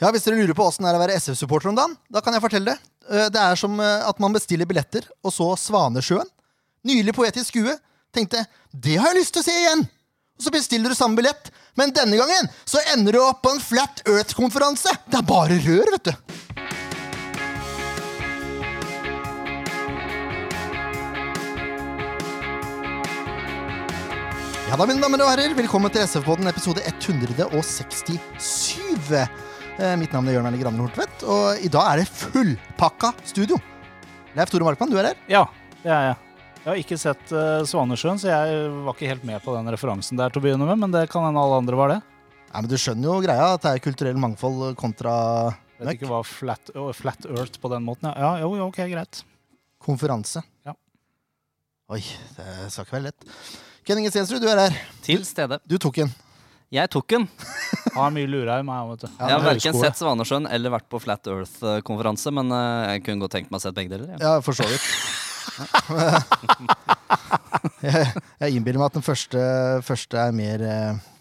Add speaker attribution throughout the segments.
Speaker 1: Ja, Hvis dere lurer på åssen det er å være SF-supporter om dagen, da kan jeg fortelle det. Eh, Det er som eh, at man bestiller billetter, og så Svanesjøen. Nylig poetisk skue. Tenkte 'det har jeg lyst til å se igjen'. Og så bestiller du samme billett, men denne gangen så ender du opp på en Flat Earth-konferanse. Det er bare rør, vet du. Ja da, mine damer og herrer, velkommen til SF-podden episode 167. Eh, Mitt navn er Jørn Erling Granner Hortvedt, og i dag er det fullpakka studio. Leif Tore Markmann, du er her.
Speaker 2: Ja, det er jeg. Jeg har ikke sett eh, Svanesjøen, så jeg var ikke helt med på den referansen der til å begynne med, men det kan hende alle andre var det.
Speaker 1: Nei, men Du skjønner jo greia at det er kulturell mangfold kontra
Speaker 2: Vet ikke hva flat, å, flat earth på den måten. Ja, ja jo, jo, ok, greit.
Speaker 1: konferanse.
Speaker 2: Ja.
Speaker 1: Oi, det skal ikke være lett. Ken Inge Stensrud, du er her.
Speaker 3: Til stede.
Speaker 1: Du tok en.
Speaker 3: Jeg tok den.
Speaker 2: Han er mye lura i meg, vet du.
Speaker 3: Jeg har
Speaker 1: men-
Speaker 3: verken sett Svanesjøen eller vært på Flat Earth-konferanse, men eh, jeg kunne godt tenkt meg å sett begge deler. Ja.
Speaker 1: Ja, for så vidt. jeg jeg innbiller meg at den første, første er mer eh,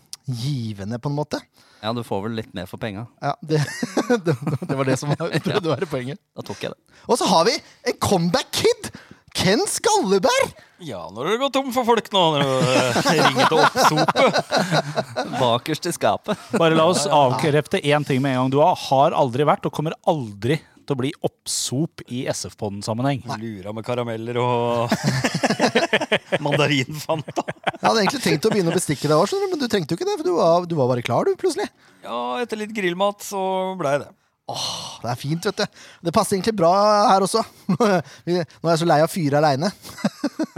Speaker 1: givende, på en måte.
Speaker 3: ja, du får vel litt mer for penga.
Speaker 1: Ja, det, det, det var det som var, prøvde å være poenget.
Speaker 3: Da tok jeg det.
Speaker 1: Og så har vi en comeback-kid! Ken Skalleberg!
Speaker 4: Ja, når har du gått tom for folk nå. Når du eh, ringer til oppsopet.
Speaker 3: Bakerst i skapet.
Speaker 2: Bare la oss avkrefte én ting med en gang. Du har aldri vært, og kommer aldri til å bli oppsop i SF-podden-sammenheng.
Speaker 4: Lura med karameller og mandarinfanta.
Speaker 1: Jeg hadde egentlig tenkt å begynne å bestikke deg, også, skjønner du, men du trengte jo ikke det. For du var, du var bare klar, du, plutselig.
Speaker 4: Ja, etter litt grillmat så blei det.
Speaker 1: Åh, Det er fint, vet du. Det passer egentlig bra her også. Vi- Nå er jeg så lei av å fyre aleine.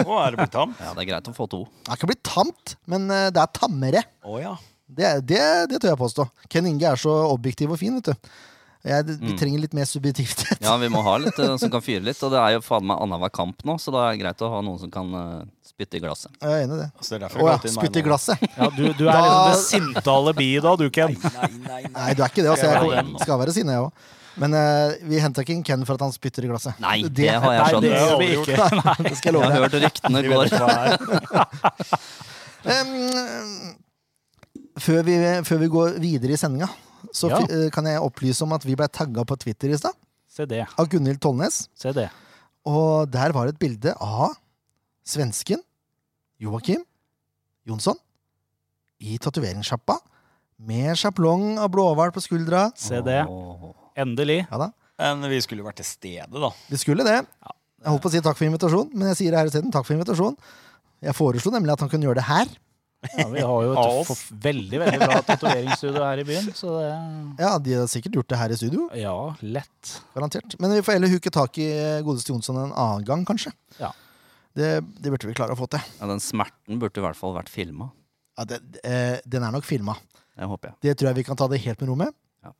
Speaker 4: Nå er det blitt ham.
Speaker 3: Ja, det er greit å få to.
Speaker 1: Det har ikke blitt tamt, men eh, det er tammere.
Speaker 4: Å ja.
Speaker 1: Det, er- det, det tør jeg påstå. Ken Inge er så objektiv og fin, vet du. Jeg, vi trenger litt mer subjektivitet.
Speaker 3: Ja, vi må ha litt eh, som kan fyre litt, og det er jo faen meg annenhver kamp nå, så da er det greit å ha noen som kan eh, spytte i glasset.
Speaker 1: Jeg er enig i det.
Speaker 4: Så det er
Speaker 1: Å
Speaker 4: derfor jeg
Speaker 1: ja,
Speaker 4: kalte inn meg
Speaker 1: spytt i
Speaker 4: nå.
Speaker 1: glasset.
Speaker 2: Ja, du, du er
Speaker 1: Da-
Speaker 2: liksom det sinte alibiet da, du, Ken.
Speaker 4: Nei, nei, nei.
Speaker 1: Nei, du er ikke det. Altså.
Speaker 4: Jeg
Speaker 1: Jeg
Speaker 4: var
Speaker 1: kommer-
Speaker 3: igjen.
Speaker 1: skal være sinne, jeg òg. Men eh, vi henta ikke inn Ken for at han spytter i glasset.
Speaker 3: Nei, det har jeg
Speaker 2: Nei,
Speaker 3: skjønt.
Speaker 2: det
Speaker 3: Jeg
Speaker 2: gjør vi ikke.
Speaker 1: Det skal jeg love
Speaker 3: har
Speaker 1: deg.
Speaker 3: hørt ryktene
Speaker 4: Vi vet
Speaker 3: går.
Speaker 4: ikke hva det er.
Speaker 1: Em, før, vi, før vi går videre i sendinga, så
Speaker 2: Ja.
Speaker 1: fi- eh, kan jeg opplyse om at vi ble tagga på Twitter i stad
Speaker 2: Se det.
Speaker 1: av Gunhild Tollnes.
Speaker 2: Se det.
Speaker 1: Og der var et bilde av svensken Joakim Jonsson i tatoveringssjappa med sjaplong av blåhval på skuldra.
Speaker 2: Se det.
Speaker 3: Åh.
Speaker 2: Endelig.
Speaker 1: Ja da,
Speaker 4: Men vi skulle jo vært til stede, da.
Speaker 1: Vi skulle det. Jeg holdt på å si takk for invitasjonen, men jeg sier det her isteden. Takk for invitasjonen. Jeg foreslo nemlig at han kunne gjøre det her.
Speaker 2: Ja, vi har jo
Speaker 4: Av
Speaker 2: et
Speaker 4: oss.
Speaker 2: forf- veldig, veldig bra tatoveringsstudio her i byen, så det
Speaker 1: Ja, de har sikkert gjort det her i studio,
Speaker 2: Ja, lett.
Speaker 1: garantert. Men vi får heller huke tak i eh, godeste Jonsson en annen gang, kanskje.
Speaker 2: Ja.
Speaker 1: Det, det burde vi klare å få til.
Speaker 3: Ja, den smerten burde i hvert fall vært filma.
Speaker 1: Ja, det, eh, den er nok filma.
Speaker 3: Det håper jeg.
Speaker 1: Det tror jeg vi kan ta det helt med ro med.
Speaker 3: Ja.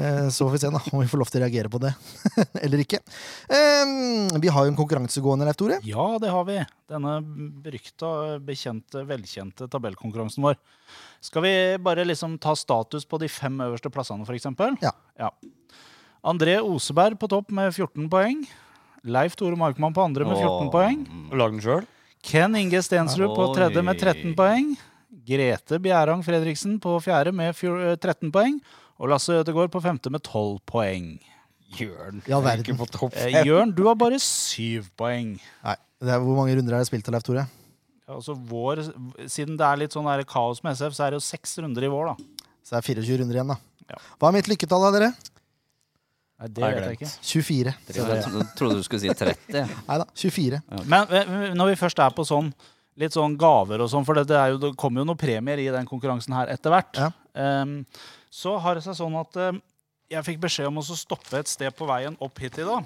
Speaker 1: Eh, Så får vi se da, om vi får lov til å reagere på det eller ikke. Eh, Vi har jo en konkurransegående, Leif Tore.
Speaker 2: Ja, det har vi. Denne berykta, bekjente, velkjente tabellkonkurransen vår. Skal vi bare liksom ta status på de fem øverste plassene, f.eks.?
Speaker 1: Ja.
Speaker 2: ja. André Oseberg på topp med 14 poeng. Leif Tore Markmann på andre med 14
Speaker 3: Åh,
Speaker 2: poeng.
Speaker 3: mm.
Speaker 4: Og Lag den sjøl.
Speaker 2: Ken Inge Stensrud på tredje med 13
Speaker 3: Oi.
Speaker 2: poeng. Grete Bjerang Fredriksen på fjerde med fjor- 13 poeng. Og Lasse Ødegaard på femte med 12 poeng.
Speaker 4: Jørn.
Speaker 1: Ja,
Speaker 4: er ikke
Speaker 1: verden.
Speaker 4: på topp
Speaker 2: Eh,
Speaker 4: fem.
Speaker 2: Jørn, du har bare syv poeng.
Speaker 1: Nei, det er, Hvor mange runder er det spilt av, Leif Tore?
Speaker 2: Ja, altså vår, siden det er litt sånn der kaos med SF, så er det jo seks runder i vår, da.
Speaker 1: Så det er 24 runder igjen,
Speaker 2: Ja.
Speaker 1: da. Hva er mitt lykketall, da, dere?
Speaker 2: Nei, det
Speaker 4: Har jeg
Speaker 2: vet jeg
Speaker 4: glemt.
Speaker 2: ikke.
Speaker 1: 24.
Speaker 3: Jeg tro- trodde du skulle si 30. jeg.
Speaker 1: Nei da, 24.
Speaker 2: Men eh, når vi først er på sånn litt sånn gaver og sånn, for det, det, er jo, det kommer jo noen premier i den konkurransen her etter hvert,
Speaker 1: Ja.
Speaker 2: Ehm, så har det seg sånn at eh, jeg fikk beskjed om å så stoppe et sted på veien opp hit i dag.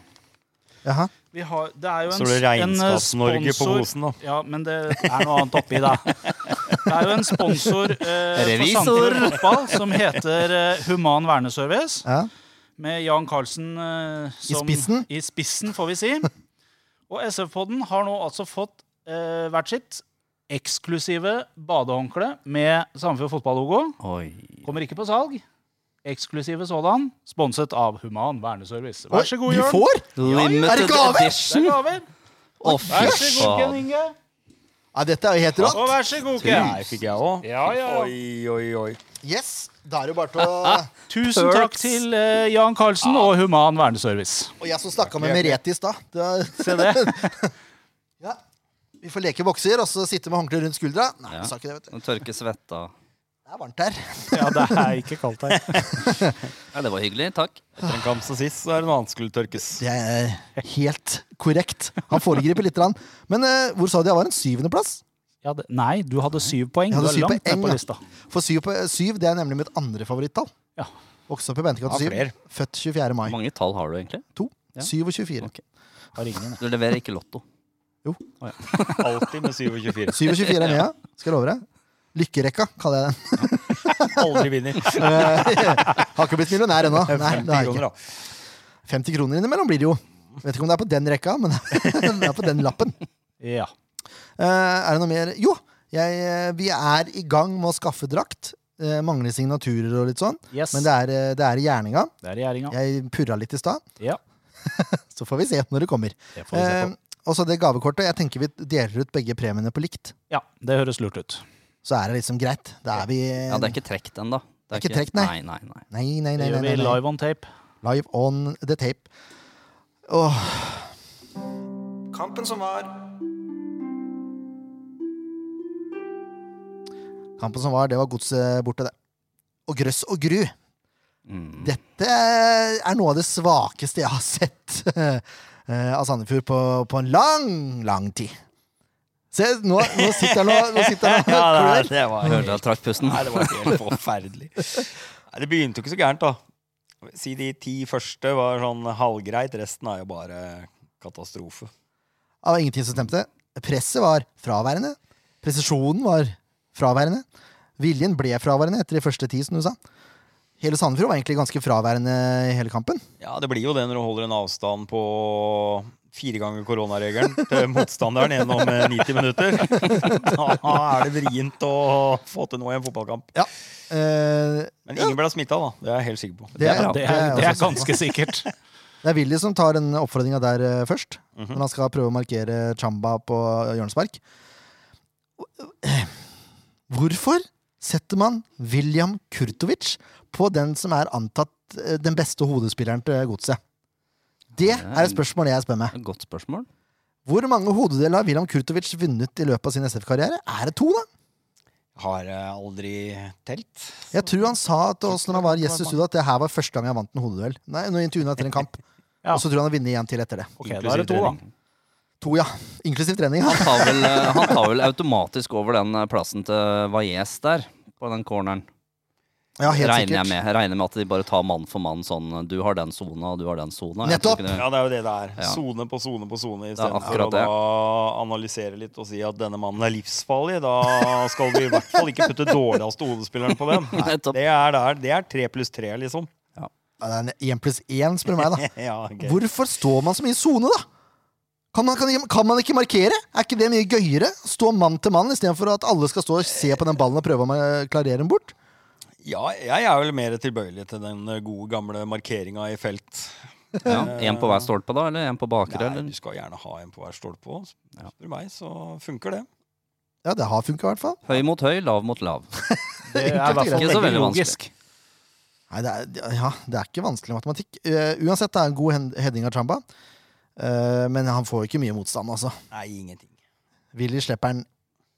Speaker 1: Jaha.
Speaker 2: Vi har, det er jo en,
Speaker 4: Står det
Speaker 2: s- en, eh,
Speaker 4: Regnskaps-Norge på
Speaker 2: sponsor-
Speaker 4: hosen, da?
Speaker 2: Ja, men det er noe annet oppi da. Det er jo en sponsor eh,
Speaker 3: Revisor.
Speaker 2: for Sandefjord Fotball som heter eh, Human Verneservice.
Speaker 1: Ja.
Speaker 2: med Jan Carlsen eh, som,
Speaker 1: spissen?
Speaker 2: I spissen, får vi si. Og SF-podden har nå altså fått eh, hvert sitt eksklusive badehåndkle med Sandefjord fotball-logo.
Speaker 3: Oi.
Speaker 2: Kommer ikke på salg. Eksklusive sådan, sponset av Human Verneservice. Vær så god,
Speaker 1: Vi
Speaker 2: Jørn.
Speaker 1: får! Er det
Speaker 3: Limited
Speaker 1: gaver?
Speaker 2: Det er
Speaker 3: edition!
Speaker 2: gaver.
Speaker 3: Å,
Speaker 2: Vær
Speaker 3: fy
Speaker 2: så god, Ken
Speaker 3: faen.
Speaker 2: Inge.
Speaker 1: Ja, dette er jo helt rått.
Speaker 2: Og vær så god, Ken.
Speaker 4: Nei, fikk jeg òg?
Speaker 2: Ja, ja.
Speaker 4: Oi, oi, oi.
Speaker 1: Yes. Da er det jo bare til å
Speaker 2: Tusen takk
Speaker 3: Perks.
Speaker 2: til eh, Jan Karlsen og Human Verneservice.
Speaker 1: Og jeg som snakka med Merete i stad. det var-
Speaker 2: Se det.
Speaker 1: Ja. Vi får leke bokser og så sitte med håndkle rundt skuldra. Nei,
Speaker 3: Ja.
Speaker 1: jeg sa ikke det, vet du.
Speaker 3: Å tørke svetta.
Speaker 1: Det er varmt her.
Speaker 2: Ja, det er ikke kaldt her.
Speaker 3: Ja, det var hyggelig. Takk.
Speaker 4: Etter en kamp som sist, så er det noe annet skulle tørkes.
Speaker 1: Det er helt korrekt. Han foregriper litt. grann. Men eh, hvor sa de jeg var? En syvendeplass?
Speaker 2: Ja, det, nei, du hadde syv poeng.
Speaker 1: Jeg hadde
Speaker 2: Du er
Speaker 1: syv
Speaker 2: langt ned
Speaker 1: poeng,
Speaker 2: på
Speaker 1: da.
Speaker 2: lista.
Speaker 1: For syv, på, syv det er nemlig mitt andre favorittall.
Speaker 2: Ja.
Speaker 1: Vokste opp i Bentekant
Speaker 4: Ja,
Speaker 1: 7.
Speaker 4: flere.
Speaker 1: Født 24. mai.
Speaker 3: Hvor mange tall har du egentlig?
Speaker 1: 2,
Speaker 3: Ja.
Speaker 1: 7 og 24.
Speaker 3: Ok.
Speaker 2: Har ingen.
Speaker 3: Du leverer ikke Lotto.
Speaker 4: Alltid med 7 og 24.
Speaker 1: 7 og 24 er Nea, skal jeg love deg. Lykkerekka, kaller jeg den.
Speaker 4: Aldri vinner.
Speaker 1: Eh, Har ikke blitt millionær ennå. Nei, det har
Speaker 4: 50
Speaker 1: jeg
Speaker 4: kroner,
Speaker 1: ikke.
Speaker 4: da.
Speaker 1: 50 kroner innimellom blir det jo. Vet ikke om det er på den rekka, men det er på den lappen.
Speaker 2: Ja.
Speaker 1: Eh, er det noe mer? Jo, jeg, eh, vi er i gang med å skaffe drakt. Eh, mangler signaturer og litt sånn.
Speaker 2: Yes.
Speaker 1: Men det er, eh, det er i gjerninga.
Speaker 2: Det er regjeringa.
Speaker 1: Jeg purra litt i stad.
Speaker 2: Ja.
Speaker 1: Så får vi se når det kommer.
Speaker 2: Det får vi se på.
Speaker 1: Eh, og så det gavekortet. Jeg tenker vi deler ut begge premiene på likt.
Speaker 2: Ja, det høres lurt ut.
Speaker 1: Så er det liksom greit. Da er vi
Speaker 3: Ja, det er ikke trekt ennå.
Speaker 1: Det er ikke trekt, nei.
Speaker 3: Nei, nei, nei.
Speaker 1: Nei, nei,
Speaker 2: Det
Speaker 1: nei. nei,
Speaker 2: gjør vi
Speaker 1: nei, nei.
Speaker 2: live on tape.
Speaker 1: Live on the tape. Åh,
Speaker 5: Kampen som var.
Speaker 1: kampen som var, det var godset borte, det. Og grøss og gru.
Speaker 3: Mm.
Speaker 1: Dette er noe av det svakeste jeg har sett eh, av Sandefjord på, på en lang, lang tid. Se, nå, nå sitter han og, nå sitter han og
Speaker 4: Ja,
Speaker 1: klør.
Speaker 4: det, det var
Speaker 3: Jeg hørte jeg trakk pusten.
Speaker 4: Nei, det var helt forferdelig. Nei, det begynte jo ikke så gærent, da. Si de ti første var sånn halvgreit, resten er jo bare katastrofe.
Speaker 1: Det var ingenting som stemte. Presset var fraværende. Presisjonen var fraværende. Viljen ble fraværende etter de første ti, som du sa. Hele Sandefjord var egentlig ganske fraværende i hele kampen.
Speaker 4: Ja, det blir jo det når du holder en avstand på fire ganger koronaregelen til motstanderen gjennom eh, 90 minutter. Da er det vrient å få til noe i en fotballkamp.
Speaker 1: Eh,
Speaker 4: Men ingen ble smitta, da. Det er jeg helt sikker på.
Speaker 1: det, er,
Speaker 3: bra.
Speaker 2: Det er, det er
Speaker 1: også-
Speaker 2: ganske sikkert.
Speaker 1: det er Willy som tar den oppfordringa der eh, først. Når han skal prøve å markere Chamba på hjørnespark. Eh, Hvorfor setter man William Kurtovic på den som er antatt eh, den beste hodespilleren til godset? Det er et spørsmål jeg spør meg.
Speaker 3: Godt spørsmål.
Speaker 1: Hvor mange hodedeler har William Kurtovic vunnet i løpet av sin SF-karriere? Er det to, da?
Speaker 4: Har eh, aldri telt.
Speaker 1: Jeg tror han sa til oss når han var gjest i studio, at det her var første gang jeg vant en hodeduell. Nei, når jeg intervjuet han etter en kamp.
Speaker 2: Ja.
Speaker 1: Og så tror jeg han har vunnet igjen til etter det.
Speaker 2: Ok, da er det to, da.
Speaker 1: To, ja. Inklusiv trening.
Speaker 3: Han tar, vel, eh, han tar vel automatisk over den eh, plassen til Valles der, på den corneren.
Speaker 1: Ja, helt
Speaker 3: Regner jeg
Speaker 1: sikkert.
Speaker 3: med Regner med at de bare tar mann for mann sånn Du har den sona, og du har den sona. Jeg
Speaker 1: Nettopp.
Speaker 3: tror ikke det-
Speaker 4: Ja, det er jo det det er.
Speaker 3: Ja.
Speaker 4: Sone på sone på sone.
Speaker 3: Det er
Speaker 4: Istedenfor å
Speaker 3: akkurat
Speaker 4: da
Speaker 3: det.
Speaker 4: analysere litt og si at denne mannen er livsfarlig. Da skal vi i hvert fall ikke putte dårligste hodespilleren på dem.
Speaker 3: Nettopp.
Speaker 4: Det er, der, det er tre pluss tre, liksom.
Speaker 1: Ja, det er en én pluss én, spør du meg, da.
Speaker 4: Ja, ok.
Speaker 1: Hvorfor står man så mye i sone, da? Kan man, kan, kan man ikke markere? Er ikke det mye gøyere? Stå mann til mann istedenfor at alle skal stå og se på den ballen og prøve å ma- klarere den bort?
Speaker 4: ja, jeg er vel mer tilbøyelig til den gode, gamle markeringa i felt.
Speaker 3: Ja, en på hver stolpe, da? Eller en på bakre?
Speaker 4: Nei,
Speaker 3: Eller?
Speaker 4: du skal gjerne ha en på hver stolpe òg. Spør du meg, så funker det.
Speaker 1: Ja, det har funka, i hvert fall.
Speaker 3: Høy mot høy, lav mot lav.
Speaker 2: Det er i hvert
Speaker 3: Ikke
Speaker 2: fall
Speaker 3: så
Speaker 2: veldig
Speaker 3: veldig
Speaker 2: logisk.
Speaker 1: Nei, det er, det- ja, det er ikke vanskelig matematikk. Eh, uansett, det er en god hen- heading av Chamba. Eh, men han får jo ikke mye motstand, altså.
Speaker 4: Nei, ingenting.
Speaker 1: Willy slipper den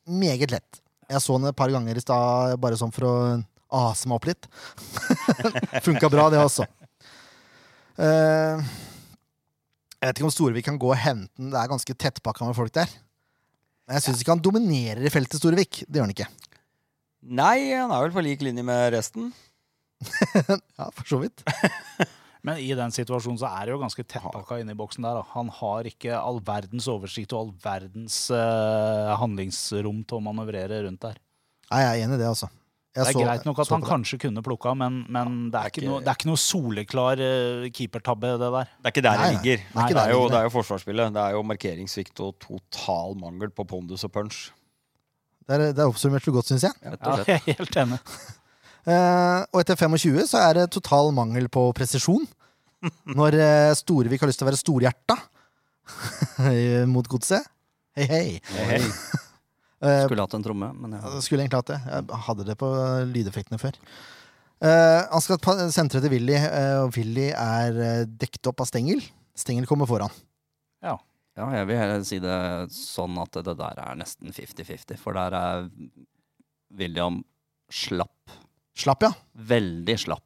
Speaker 1: meget lett. Jeg så den et par ganger i stad, bare sånn for å ase meg opp litt. Funka bra, det også. Eh, jeg vet ikke om Storevik kan gå og hente den. Det er ganske tettpakka med folk der. Men jeg syns ikke han dominerer i feltet, Storevik. Det gjør han ikke.
Speaker 4: Nei, han er vel på lik linje med resten.
Speaker 1: Ja, for så vidt.
Speaker 2: Men i den situasjonen så er det jo ganske tettpakka inne i boksen der. Da. Han har ikke all verdens oversikt og all verdens eh, handlingsrom til å manøvrere rundt der.
Speaker 1: Nei, jeg er enig i det, altså. Jeg
Speaker 2: Det er
Speaker 1: så-
Speaker 2: greit nok at
Speaker 1: så
Speaker 2: han
Speaker 1: på det.
Speaker 2: kanskje kunne plukka, men, men det, er
Speaker 4: Det er
Speaker 2: ikke
Speaker 4: ikke-
Speaker 2: noe, det er ikke noe soleklar eh, keepertabbe, det der.
Speaker 4: Det er ikke der
Speaker 1: Nei, nei.
Speaker 4: det ligger.
Speaker 1: Nei,
Speaker 4: Det
Speaker 1: det
Speaker 4: er,
Speaker 1: er
Speaker 4: jo,
Speaker 1: ikke
Speaker 4: det er jo forsvarsspillet. Det er jo markeringssvikt og total mangel på pondus og punch.
Speaker 1: Det er, det er oppsummert så godt, syns jeg.
Speaker 3: Rett
Speaker 2: Ja,
Speaker 3: og slett.
Speaker 2: jeg er helt enig.
Speaker 1: Eh, og etter 25 så er det total mangel på presisjon. Når eh, Storevik har lyst til å være storhjerta mot godset. Hei, hei. Eh,
Speaker 3: Skulle hatt en tromme, men ja.
Speaker 1: skulle egentlig hatt det. Jeg hadde det på lydeffektene før. Eh, han skal pa- sentre til Willy, eh, og Willy er eh, dekt opp av Stengel. Stengel kommer foran.
Speaker 3: Ja, jeg vil heller si det sånn at det der er nesten 50-50, for der er William slapp.
Speaker 1: Slapp, ja.
Speaker 3: Veldig slapp.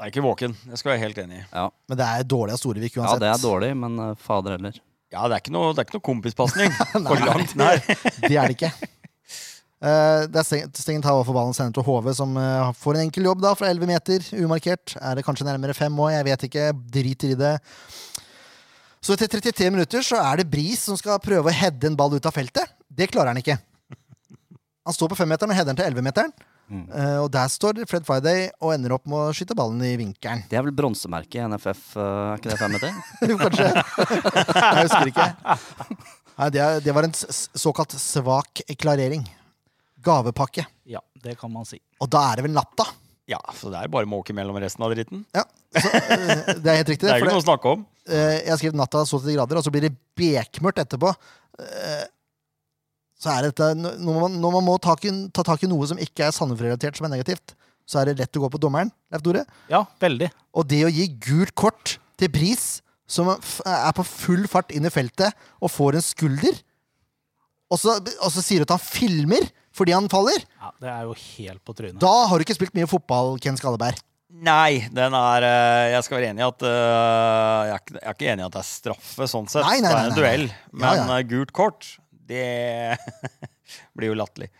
Speaker 4: Jeg er ikke våken. Det skal jeg være helt enig i.
Speaker 1: Men det er dårlig av Storevik
Speaker 3: Ja,
Speaker 1: uansett.
Speaker 3: det er dårlig, men eh, fader heller.
Speaker 4: Ja, det er ikke noe, det er ikke noe kompispasning. For
Speaker 1: Nei.
Speaker 4: langt nær.
Speaker 1: Det er det ikke. Eh, det er Steng- Stengel tar over ballen og sender til HV, som eh, får en enkel jobb da fra 11 meter, umarkert. Er det kanskje nærmere fem òg? Jeg vet ikke. Driter i det. Så etter 33 minutter så er det Bris som skal prøve å heade en ball ut av feltet. Det klarer han ikke. Han står på femmeteren og header den til 11-meteren.
Speaker 3: Mm.
Speaker 1: Eh, og der står Fred Friday og ender opp med å skyte ballen i vinkelen.
Speaker 3: Det er vel bronsemerket i NFF, eh, er ikke det fem meter?
Speaker 1: Jo, Kanskje. Jeg husker ikke. Nei, det, er- det var en s- s- såkalt svak klarering. Gavepakke.
Speaker 2: Ja, det kan man si.
Speaker 1: Og da er det vel natta?
Speaker 4: Ja, så det er bare måke mellom resten av dritten.
Speaker 1: Ja, så, eh, Det er helt riktig.
Speaker 4: Det er
Speaker 1: for
Speaker 4: ikke noe å snakke om.
Speaker 1: det- eh, jeg har skrevet natta så til de grader, og så blir det bekmørkt etterpå. Eh, Så er dette, når man, når man må ta, ta tak i noe som ikke er Sandefjord-relatert, som er negativt, så er det lett å gå på dommeren. Leif Tore.
Speaker 2: Ja, veldig.
Speaker 1: Og det å gi gult kort til Bris, som f- er på full fart inn i feltet og får en skulder, og så, og så sier du at han filmer fordi han faller,
Speaker 2: Ja, det er jo helt på trynet.
Speaker 1: da har du ikke spilt mye fotball, Ken Skalleberg.
Speaker 4: Nei, den er eh, Jeg skal være enig i at eh, jeg, er ikke, jeg er ikke enig i at det er straffe, sånn sett.
Speaker 1: Nei, nei, nei,
Speaker 4: det er en
Speaker 1: nei, nei.
Speaker 4: duell. Men
Speaker 1: Ja, ja.
Speaker 4: eh, gult kort, det blir jo latterlig.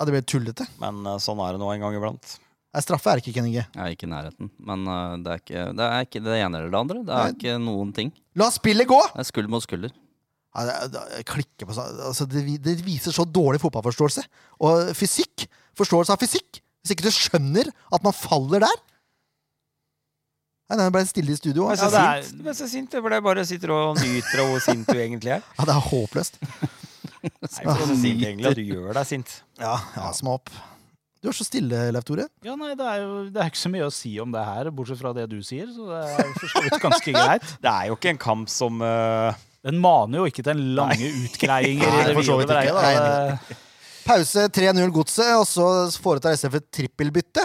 Speaker 1: Ja, det blir tullete.
Speaker 4: Men eh, sånn er det nå en gang iblant.
Speaker 1: Nei, straffe er det ikke, Ken Inge.
Speaker 3: Jeg er ikke i nærheten. Men eh, det, er ikke, det er ikke det ene eller det andre. Det
Speaker 1: Nei.
Speaker 3: er ikke noen ting.
Speaker 1: La spillet gå!
Speaker 3: Det er skulder mot skulder.
Speaker 1: Ja, det, det, jeg klikker på sånn. altså, det, vi- det viser så dårlig fotballforståelse. Og fysikk. Forståelse av fysikk. Hvis ikke du skjønner at man faller der Nei, det ble stille i studio.
Speaker 4: Men
Speaker 1: Ja,
Speaker 4: så
Speaker 1: det, er,
Speaker 2: det er-
Speaker 4: sint. Men så sint. Jeg ble bare sitter og nyter av hvor sint du egentlig er.
Speaker 1: ja, det er håpløst.
Speaker 4: Nei, for så sint egentlig at du gjør deg sint.
Speaker 1: Ja, ja små opp. Du er så stille, Leif Tore.
Speaker 2: Ja, nei, det er jo det er ikke så mye å si om det her, bortsett fra det du sier. Så det er jo for så vidt ganske greit.
Speaker 4: Det er jo ikke en kamp som eh,
Speaker 2: Den maner jo ikke til lange utgreiinger i
Speaker 1: Nei,
Speaker 2: det
Speaker 1: for så
Speaker 2: videre
Speaker 1: vidt ikke.
Speaker 2: greia.
Speaker 1: Nei,
Speaker 2: da.
Speaker 1: Pause 3-0 Godset, og så foretar SF et trippelbytte.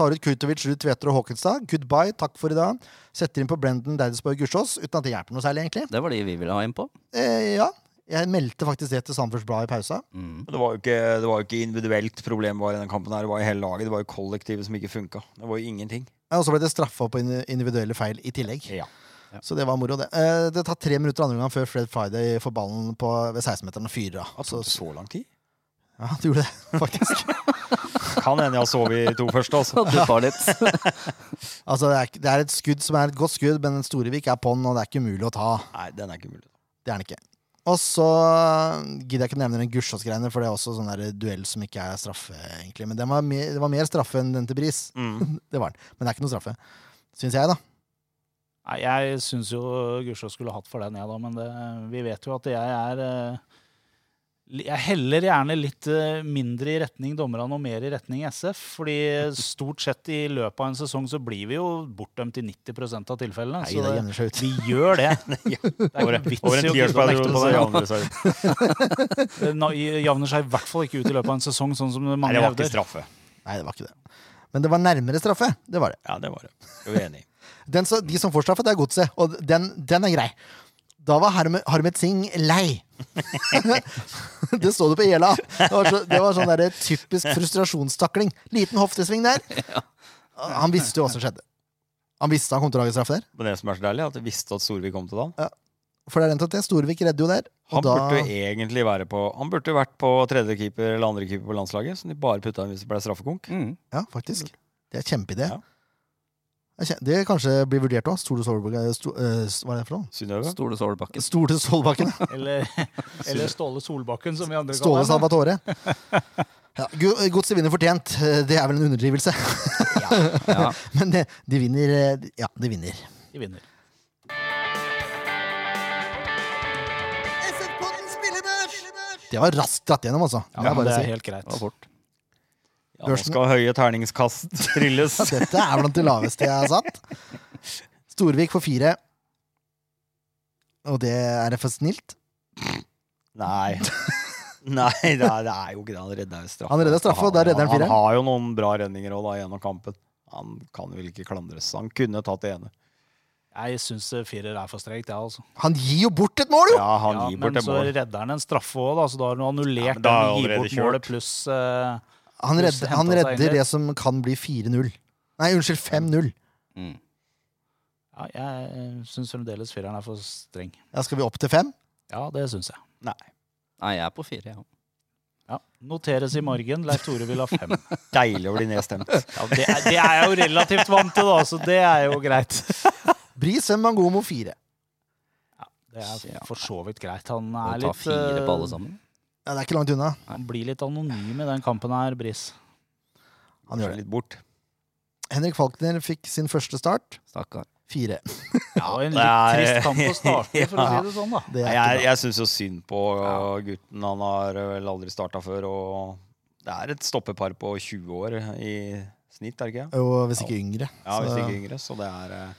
Speaker 1: Tar ut Kutovic, Ruud Tveter og Håkenstad. Goodbye, takk for i dag. Setter inn på Brenden Deidesborg Gussiås, uten at det hjelper noe særlig, egentlig.
Speaker 3: Det var de vi ville ha inn på.
Speaker 1: Eh, ja, jeg meldte faktisk det til Sandefjords Blad i pausa.
Speaker 3: Mm.
Speaker 4: det, var jo ikke, det var jo ikke individuelt problem bare i den kampen her. Det var jo hele laget. Det var jo kollektivet som ikke funka. Det var jo ingenting.
Speaker 1: Ja, Og så ble det straffa på indi- individuelle feil i tillegg.
Speaker 4: Ja.
Speaker 1: Så det var moro, det. Eh, det tar tre minutter andre gang før Fred Friday får ballen på, ved 16-meteren og fyrer av.
Speaker 4: Det
Speaker 1: Altså, Så,
Speaker 4: tok så lang tid.
Speaker 1: ja, det gjorde det, faktisk.
Speaker 4: Kan hende jeg har sovet i to første, altså.
Speaker 3: Du tar litt.
Speaker 1: altså, det, er, ikke- det er et skudd som er et godt skudd, men Storevik er på'n, og det er ikke umulig å ta.
Speaker 4: Nei, den er ikke mulig.
Speaker 1: Det er den ikke. Og så eh, gidder jeg ikke nevne den Gussiås-greiene, for det er også sånn der duell som ikke er straffe, egentlig. Men den var mer, det var mer straffe enn den til Bris.
Speaker 4: Mm.
Speaker 1: Det var den. Men det er ikke noe straffe, syns jeg, da.
Speaker 2: Nei, jeg syns jo Gusjå skulle hatt for den, jeg, da, men det, vi vet jo at jeg er eh, li- Jeg heller gjerne litt eh, mindre i retning dommerne og mer i retning SF. fordi stort sett i løpet av en sesong så blir vi jo bortdømt i 90 av tilfellene.
Speaker 1: Nei,
Speaker 2: så
Speaker 1: det
Speaker 2: det-
Speaker 1: jevner seg ut.
Speaker 2: vi gjør det.
Speaker 4: Ja.
Speaker 2: Det er
Speaker 4: Over,
Speaker 2: ikke vits
Speaker 4: over
Speaker 2: i
Speaker 4: en
Speaker 2: å gidde å
Speaker 4: tiårsperiode
Speaker 2: nekte
Speaker 4: på
Speaker 2: seg.
Speaker 4: den andre siden.
Speaker 2: Det na- javner seg i hvert fall ikke ut i løpet av en sesong, sånn som
Speaker 4: Nei,
Speaker 2: mange
Speaker 4: det var ikke
Speaker 2: hevder.
Speaker 4: straffe.
Speaker 1: Nei, det var ikke det. Men det var nærmere straffe. Det var det.
Speaker 4: Ja, det var det. Jeg er enig.
Speaker 1: Den, som- de som får straffe, det er godset, og den, den er grei. Da var Harm- Harmet Singh lei. det så du på Ela. Det var, så, det var sånn der typisk frustrasjonstakling. Liten hoftesving der. Han visste jo hva som skjedde. Han visste han kom til å lage straffe der.
Speaker 4: Men det som er så deilig, er at jeg visste at Storvik kom til dagen.
Speaker 1: For det er rent at det. Storvik redder jo der. Og
Speaker 4: Han
Speaker 1: da,
Speaker 4: burde jo e- egentlig være på Han burde jo vært på tredjekeeper eller andrekeeper på landslaget, som de bare putta inn hvis det ble straffekonk.
Speaker 3: Mm.
Speaker 1: Ja, faktisk. Det er kjempeidé.
Speaker 4: Ja.
Speaker 1: Det er kje- Det kanskje blir vurdert òg. Stole Solbakken eh, Sto- eh, s- Hva er det for noe?
Speaker 4: Synnøve.
Speaker 3: Stole Solbakken.
Speaker 1: Stole Solbakken.
Speaker 2: Eller, eller Ståle Solbakken, som vi andre
Speaker 1: Ståle
Speaker 2: kaller ham.
Speaker 1: Salvatore. Ja, Gu- Godset vinner fortjent. Eh, Det er vel en underdrivelse.
Speaker 3: Ja.
Speaker 1: Men det, de vinner eh, Ja, de vinner.
Speaker 2: De vinner.
Speaker 1: Det var raskt dratt gjennom, altså.
Speaker 2: Ja,
Speaker 1: må jeg
Speaker 2: men det
Speaker 1: bare
Speaker 2: er
Speaker 1: si.
Speaker 2: helt greit.
Speaker 3: Det var fort.
Speaker 4: Ja, nå skal høye terningskast trilles.
Speaker 1: Ja, Dette er blant de laveste jeg har satt. Storvik får fire. Og det er det for snilt.
Speaker 4: Nei. Nei, det er, det er jo ikke det. Han redda jo straffe.
Speaker 1: Han redda straffe, og da redder han fire.
Speaker 4: Han har jo noen bra redninger òg, da, gjennom kampen. Han kan vel ikke klandres. Han kunne tatt det ene.
Speaker 2: Jeg syns firer er for strekt, jeg, altså.
Speaker 1: Han gir jo bort et mål, jo!
Speaker 4: Ja, han
Speaker 2: Ja,
Speaker 4: gir bort
Speaker 2: men
Speaker 4: det
Speaker 2: så
Speaker 4: målet.
Speaker 2: redder han en straffe òg, da, så da har han
Speaker 4: Ja,
Speaker 2: annullert
Speaker 4: men da
Speaker 2: den
Speaker 4: er han
Speaker 2: gi
Speaker 4: allerede
Speaker 2: bort
Speaker 4: kjørt.
Speaker 2: målet pluss eh,
Speaker 1: Han redder,
Speaker 2: Pluss hentet
Speaker 1: han
Speaker 2: seg
Speaker 1: redder
Speaker 2: egentlig.
Speaker 1: det som kan bli 4-0. Nei, unnskyld, 5-0.
Speaker 3: Mm.
Speaker 2: Ja, jeg syns fremdeles fireren er for streng.
Speaker 1: Ja, skal vi opp til 5?
Speaker 2: Ja, det syns jeg.
Speaker 4: Nei.
Speaker 3: Nei, jeg er på fire, ja.
Speaker 2: Ja. Noteres i morgen. Leif Tore vil ha fem.
Speaker 4: Deilig å bli nedstemt.
Speaker 2: Ja, det, er, det er jeg jo relativt vant til, da, så det er jo greit.
Speaker 1: Bris Mangomo 4.
Speaker 2: Det
Speaker 3: Ja.
Speaker 2: er for så vidt greit. Han
Speaker 3: Må
Speaker 2: er
Speaker 3: ta
Speaker 2: litt
Speaker 3: fire på alle
Speaker 2: eh,
Speaker 3: sammen.
Speaker 1: Ja, det er ikke langt unna.
Speaker 2: Han blir litt anonym i den kampen her, Bris.
Speaker 1: Han gjør det.
Speaker 4: Litt bort.
Speaker 1: Henrik Falkner fikk sin første start.
Speaker 3: Stakkar.
Speaker 1: 4.
Speaker 2: Ja, og en litt
Speaker 4: Nei.
Speaker 2: trist kamp å starte, for å
Speaker 4: Ja.
Speaker 2: si det sånn, da.
Speaker 1: Det
Speaker 4: Nei,
Speaker 1: er
Speaker 4: jeg
Speaker 1: ikke bra.
Speaker 4: jeg syns jo synd på uh, gutten. Han har uh, vel aldri starta før. Og det er et stoppepar på 20 år i snitt, er det ikke? det?
Speaker 1: Og hvis ikke yngre.
Speaker 4: Ja, hvis
Speaker 1: Så-
Speaker 4: ikke yngre. Så det er, uh,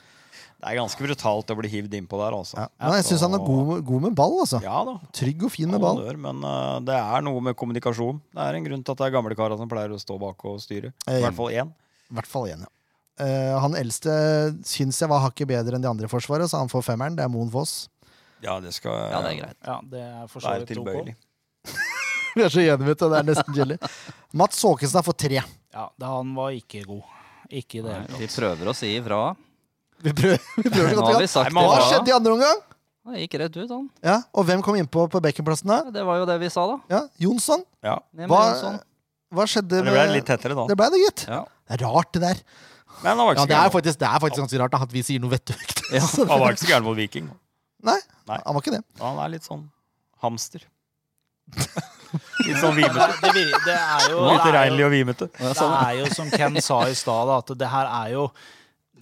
Speaker 4: det er ganske brutalt å bli hivd innpå der, altså.
Speaker 1: Ja. Men jeg syns han er god, god med ball, altså.
Speaker 4: Ja da.
Speaker 1: Trygg og fin med ball.
Speaker 4: Honnør, Men uh, det er noe med kommunikasjon. Det er en grunn til at det er gamlekara som pleier å stå bak og styre. I
Speaker 1: Eh,
Speaker 4: hvert fall én.
Speaker 1: I hvert fall én, ja. Eh, han eldste syns jeg var hakket bedre enn de andre i Forsvaret, så han får femmeren. Det er Moen Foss.
Speaker 4: Ja, det skal
Speaker 3: Ja, det er greit.
Speaker 2: Ja, det er for
Speaker 4: Det
Speaker 2: så
Speaker 4: er
Speaker 2: vidt ok.
Speaker 4: tilbøyelig.
Speaker 1: Vi er så enige, vet du. Det er nesten jelly. Mats Håkensen har fått tre.
Speaker 2: Ja, det, han var ikke god. Ikke i det hele
Speaker 3: Nei,
Speaker 2: tatt.
Speaker 3: Vi prøver å si ifra.
Speaker 1: Vi prøver, vi prøver det
Speaker 3: Nå har vi
Speaker 1: godt igjen.
Speaker 3: sagt
Speaker 4: Nei, men
Speaker 1: Hva
Speaker 4: hva
Speaker 3: ifra.
Speaker 1: skjedde i andre omgang?
Speaker 3: Det gikk rett ut, han.
Speaker 1: Ja, Og hvem kom innpå på Beckenplassen da?
Speaker 3: Det var jo det vi sa, da. sånn?
Speaker 1: Ja, Jonsson?
Speaker 4: Ja.
Speaker 3: Ned med
Speaker 1: Hva,
Speaker 3: Jonsson.
Speaker 1: hva skjedde
Speaker 4: Men Det ble
Speaker 1: med
Speaker 4: litt tettere da.
Speaker 1: Det ble det, gitt.
Speaker 3: Ja.
Speaker 1: Det er rart, det der.
Speaker 4: Men han var
Speaker 1: Ja,
Speaker 4: ikke
Speaker 1: det er
Speaker 4: så gæren.
Speaker 1: faktisk, det er faktisk ganske rart da, at vi sier noe vettugt. Så-
Speaker 4: Han var ikke så gæren mot Viking.
Speaker 1: Nei,
Speaker 4: Nei.
Speaker 1: han var ikke det.
Speaker 4: Han er litt sånn hamster. Litt sånn
Speaker 2: Det,
Speaker 4: vimete.
Speaker 2: det, vir- det er jo
Speaker 4: Litt
Speaker 2: det er
Speaker 4: regnlig
Speaker 2: jo,
Speaker 4: og vimete.
Speaker 2: det er jo som Ken sa i stad, da, at det her er jo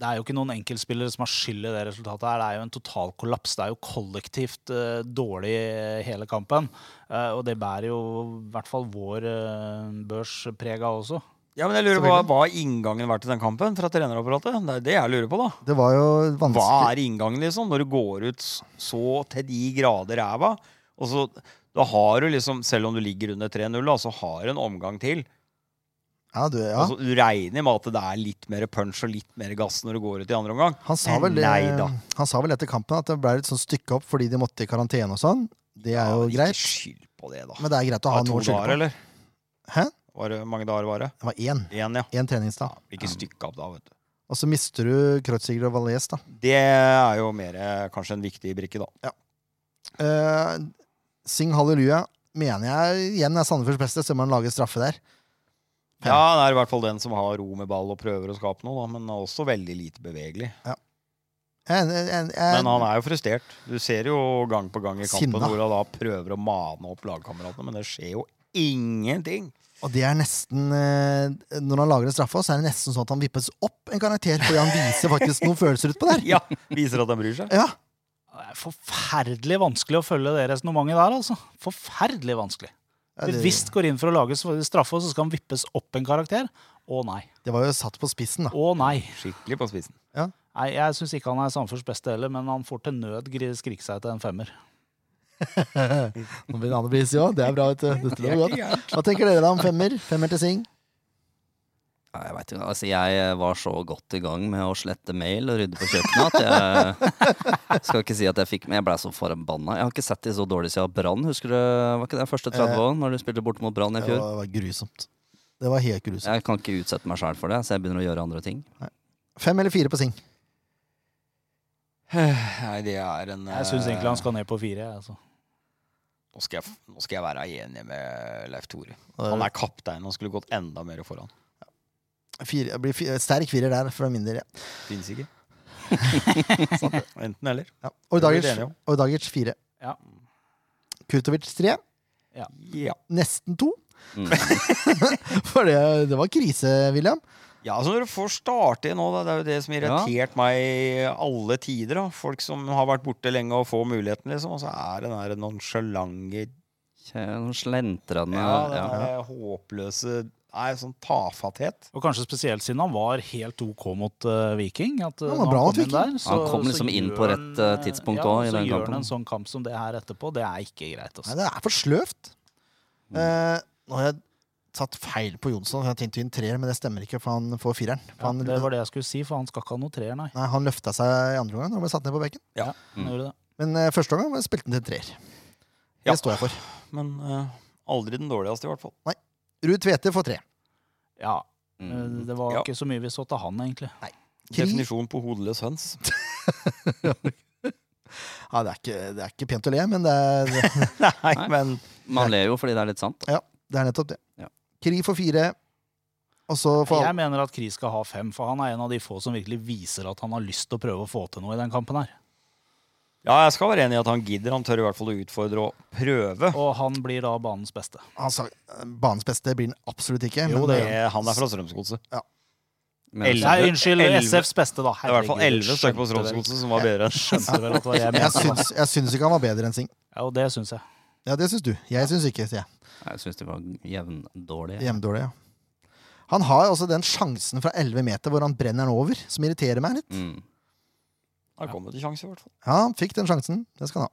Speaker 2: det er jo ikke noen enkeltspillere som har skyld i det resultatet. her. Det er jo en total kollaps. Det er jo kollektivt eh, dårlig eh, hele kampen. Eh, og det bærer jo i hvert fall vår uh, børs preg av også.
Speaker 4: Ja, men jeg lurer på, Hva har inngangen vært til den kampen fra trenerapparatet? Det er det jeg lurer på, da.
Speaker 1: Det var jo
Speaker 4: Hva
Speaker 1: vanskelig.
Speaker 4: er inngangen, liksom? Når du går ut så til de grader ræva, og så da har du liksom, selv om du ligger under 3-0, da, så har du en omgang til.
Speaker 1: Ja, du, ja.
Speaker 4: Altså, du regner med at det er litt mer punch og litt mer gass når du går ut i andre omgang.
Speaker 1: Han sa vel,
Speaker 4: Nei da.
Speaker 1: han sa vel etter kampen at det ble et sånn stykke opp fordi de måtte i karantene og sånn. Det er jo
Speaker 4: Ja,
Speaker 1: greit.
Speaker 4: Ikke skyld på det, da.
Speaker 1: Men det er greit å ha
Speaker 4: Var det
Speaker 1: noe å
Speaker 4: to dager,
Speaker 1: skylde på.
Speaker 4: eller?
Speaker 1: Hæ?
Speaker 4: Var det, mange dager var det?
Speaker 1: Det var én.
Speaker 4: Én, ja.
Speaker 1: Én treningsdag.
Speaker 4: Ikke stykka opp da, vet du.
Speaker 1: Og så mister du Kreutziger og Valais, da.
Speaker 4: Det er jo mer eh, kanskje en viktig brikke, da.
Speaker 1: Eh, Sing halleluja. Mener jeg igjen er Sandefjords beste, så må han lage straffe der.
Speaker 4: Ja, det er i hvert fall den som har ro med ball og prøver å skape noe, da, men også veldig lite bevegelig.
Speaker 1: Jeg, jeg, jeg,
Speaker 4: Men han er jo frustrert. Du ser jo gang på gang i kampen
Speaker 1: Sinna.
Speaker 4: hvor han da prøver å mane opp lagkameratene, men det skjer jo ingenting.
Speaker 1: Og det er nesten eh, Når han lager en straffe, så er det nesten sånn at han vippes opp en karakter, fordi han viser faktisk noen følelser utpå der.
Speaker 4: Ja, Viser at han bryr seg.
Speaker 1: Ja.
Speaker 2: Det er forferdelig vanskelig å følge det resonnementet der, altså. Forferdelig vanskelig.
Speaker 1: Ja, det-
Speaker 2: Bevisst går inn for å lage straffe, og så skal han vippes opp en karakter. Å nei.
Speaker 1: Det var jo satt på spissen, da.
Speaker 2: Å nei.
Speaker 4: Skikkelig på spissen.
Speaker 2: Nei, Jeg syns ikke han er Sandefjords beste heller, men han får til nød gri- skrike seg til en femmer.
Speaker 1: Nå blir det andre bris, ja. Det er bra, vet du. Dette
Speaker 4: Det
Speaker 1: lover
Speaker 4: er
Speaker 1: godt.
Speaker 4: ikke gærent.
Speaker 1: Hva tenker dere da om femmer? Femmer til Sing?
Speaker 3: Ja, jeg vet ikke. Altså, jeg var så godt i gang med å slette mail og rydde på kjøkkenet at jeg skal ikke si at jeg fikk Men jeg blei så forbanna. Jeg har ikke sett de så dårlig siden Brann. Husker du var ikke det første 30 år, når du spilte borte mot Brann i
Speaker 1: Eh. Det
Speaker 3: fjor?
Speaker 1: var grusomt. Det var helt grusomt.
Speaker 3: Jeg kan ikke utsette meg sjæl for det, så jeg begynner å gjøre andre ting.
Speaker 1: Fem eller fire på Sing?
Speaker 4: Nei, det er en
Speaker 2: Jeg syns
Speaker 4: eh,
Speaker 2: egentlig han skal ned på fire. jeg, Altså.
Speaker 4: nå, skal jeg, nå skal jeg være enig med Leif Tore. Han er kaptein, han skulle gått enda mer foran.
Speaker 1: Fire, det blir fi- sterk firer der, fra min del. Ja.
Speaker 4: Fins ikke. Sant det. Enten eller.
Speaker 1: Ja.
Speaker 4: Det blir vi
Speaker 1: Ordagic
Speaker 4: enige om.
Speaker 1: Ordagic fire.
Speaker 2: Ja.
Speaker 1: Kurtovic tre.
Speaker 4: Ja.
Speaker 1: Nesten to.
Speaker 3: Mm.
Speaker 1: For det, det var krise, William.
Speaker 4: Ja, altså Når du får starte igjen nå, da, det er jo det som har irritert meg i alle tider. da Folk som har vært borte lenge og får muligheten, liksom. Og så er det den der nonsjalante,
Speaker 3: Kjæ- Slentrende
Speaker 4: ja, den
Speaker 3: ja.
Speaker 4: der håpløse Nei, sånn tafatthet.
Speaker 2: Og kanskje spesielt siden han var helt OK mot eh, Viking. At, eh,
Speaker 1: Han var
Speaker 2: når
Speaker 1: bra mot
Speaker 2: kom inn
Speaker 1: Viking.
Speaker 3: Han kom liksom inn
Speaker 2: gjør
Speaker 3: på rett,
Speaker 2: han,
Speaker 3: eh, tidspunkt
Speaker 2: ja,
Speaker 3: også i den
Speaker 2: Så gjør
Speaker 3: kampen.
Speaker 2: han en sånn kamp som det her etterpå. Det er ikke greit.
Speaker 1: Nei,
Speaker 2: Altså.
Speaker 4: Mm.
Speaker 1: det er for sløvt. Eh, nå har jeg satt feil på Jonsson. Jeg tenkte en treer, men det stemmer ikke, for han får fireren. For
Speaker 2: Ja,
Speaker 1: han,
Speaker 2: det var det jeg skulle si, for han skal ikke ha noe treer, nei.
Speaker 1: nei, han løfta seg i andre omgang og ble satt ned på benken.
Speaker 4: Ja.
Speaker 2: Ja, han
Speaker 3: Mm.
Speaker 2: gjorde det.
Speaker 1: Men eh, første omgang var- spilte han til en treer.
Speaker 4: Ja.
Speaker 1: Det står jeg for.
Speaker 4: Men eh, aldri den dårligste, i hvert fall.
Speaker 1: Ruud Tvete får tre.
Speaker 2: Ja, eh,
Speaker 3: Mm.
Speaker 2: det var
Speaker 4: Ja.
Speaker 2: ikke så mye vi så til han, egentlig.
Speaker 1: Kri-
Speaker 4: Definisjon på hodeløs høns.
Speaker 1: Ja, det, er ikke, det er ikke pent å le, men det er, det-
Speaker 4: Nei,
Speaker 3: Nei.
Speaker 4: men
Speaker 3: Man ler jo fordi det er litt sant.
Speaker 1: det er nettopp det.
Speaker 3: Ja.
Speaker 1: Kri får fire. Og så får
Speaker 2: Jeg mener at Kri skal ha fem, for han er en av de få som virkelig viser at han har lyst til å prøve å få til noe i den kampen her.
Speaker 4: ja, jeg skal være enig i at han gidder. Han tør i hvert fall å utfordre og prøve.
Speaker 2: Og han blir da banens beste.
Speaker 1: han sa, Banens beste blir han absolutt ikke.
Speaker 2: Jo,
Speaker 1: men,
Speaker 4: Det,
Speaker 2: det
Speaker 1: eh,
Speaker 4: han er fra Strømsgodset.
Speaker 3: Men
Speaker 4: Elleve.
Speaker 2: Nei, unnskyld,
Speaker 4: Elleve.
Speaker 2: SFs beste, da.
Speaker 4: Det er i hvert fall
Speaker 2: Herregud,
Speaker 4: elleve stykker på
Speaker 2: skjønte vel-
Speaker 4: Strømsgodset som var bedre enn
Speaker 2: Skjønte vel at det var jeg
Speaker 1: jeg,
Speaker 2: mente. da.
Speaker 1: syns, jeg syns ikke han var bedre enn Sing.
Speaker 2: Ja, og det syns jeg.
Speaker 1: Ja, det syns du. Jeg syns ikke, sier jeg.
Speaker 3: Jeg syns de var jevndårlige.
Speaker 1: Hjemmedårlig, ja. Han har også den sjansen fra 11 meter hvor han brenner den over, som irriterer meg litt.
Speaker 3: Mm.
Speaker 4: Han kom jo til sjanse, i hvert fall.
Speaker 1: Ja, han fikk den sjansen. Det skal han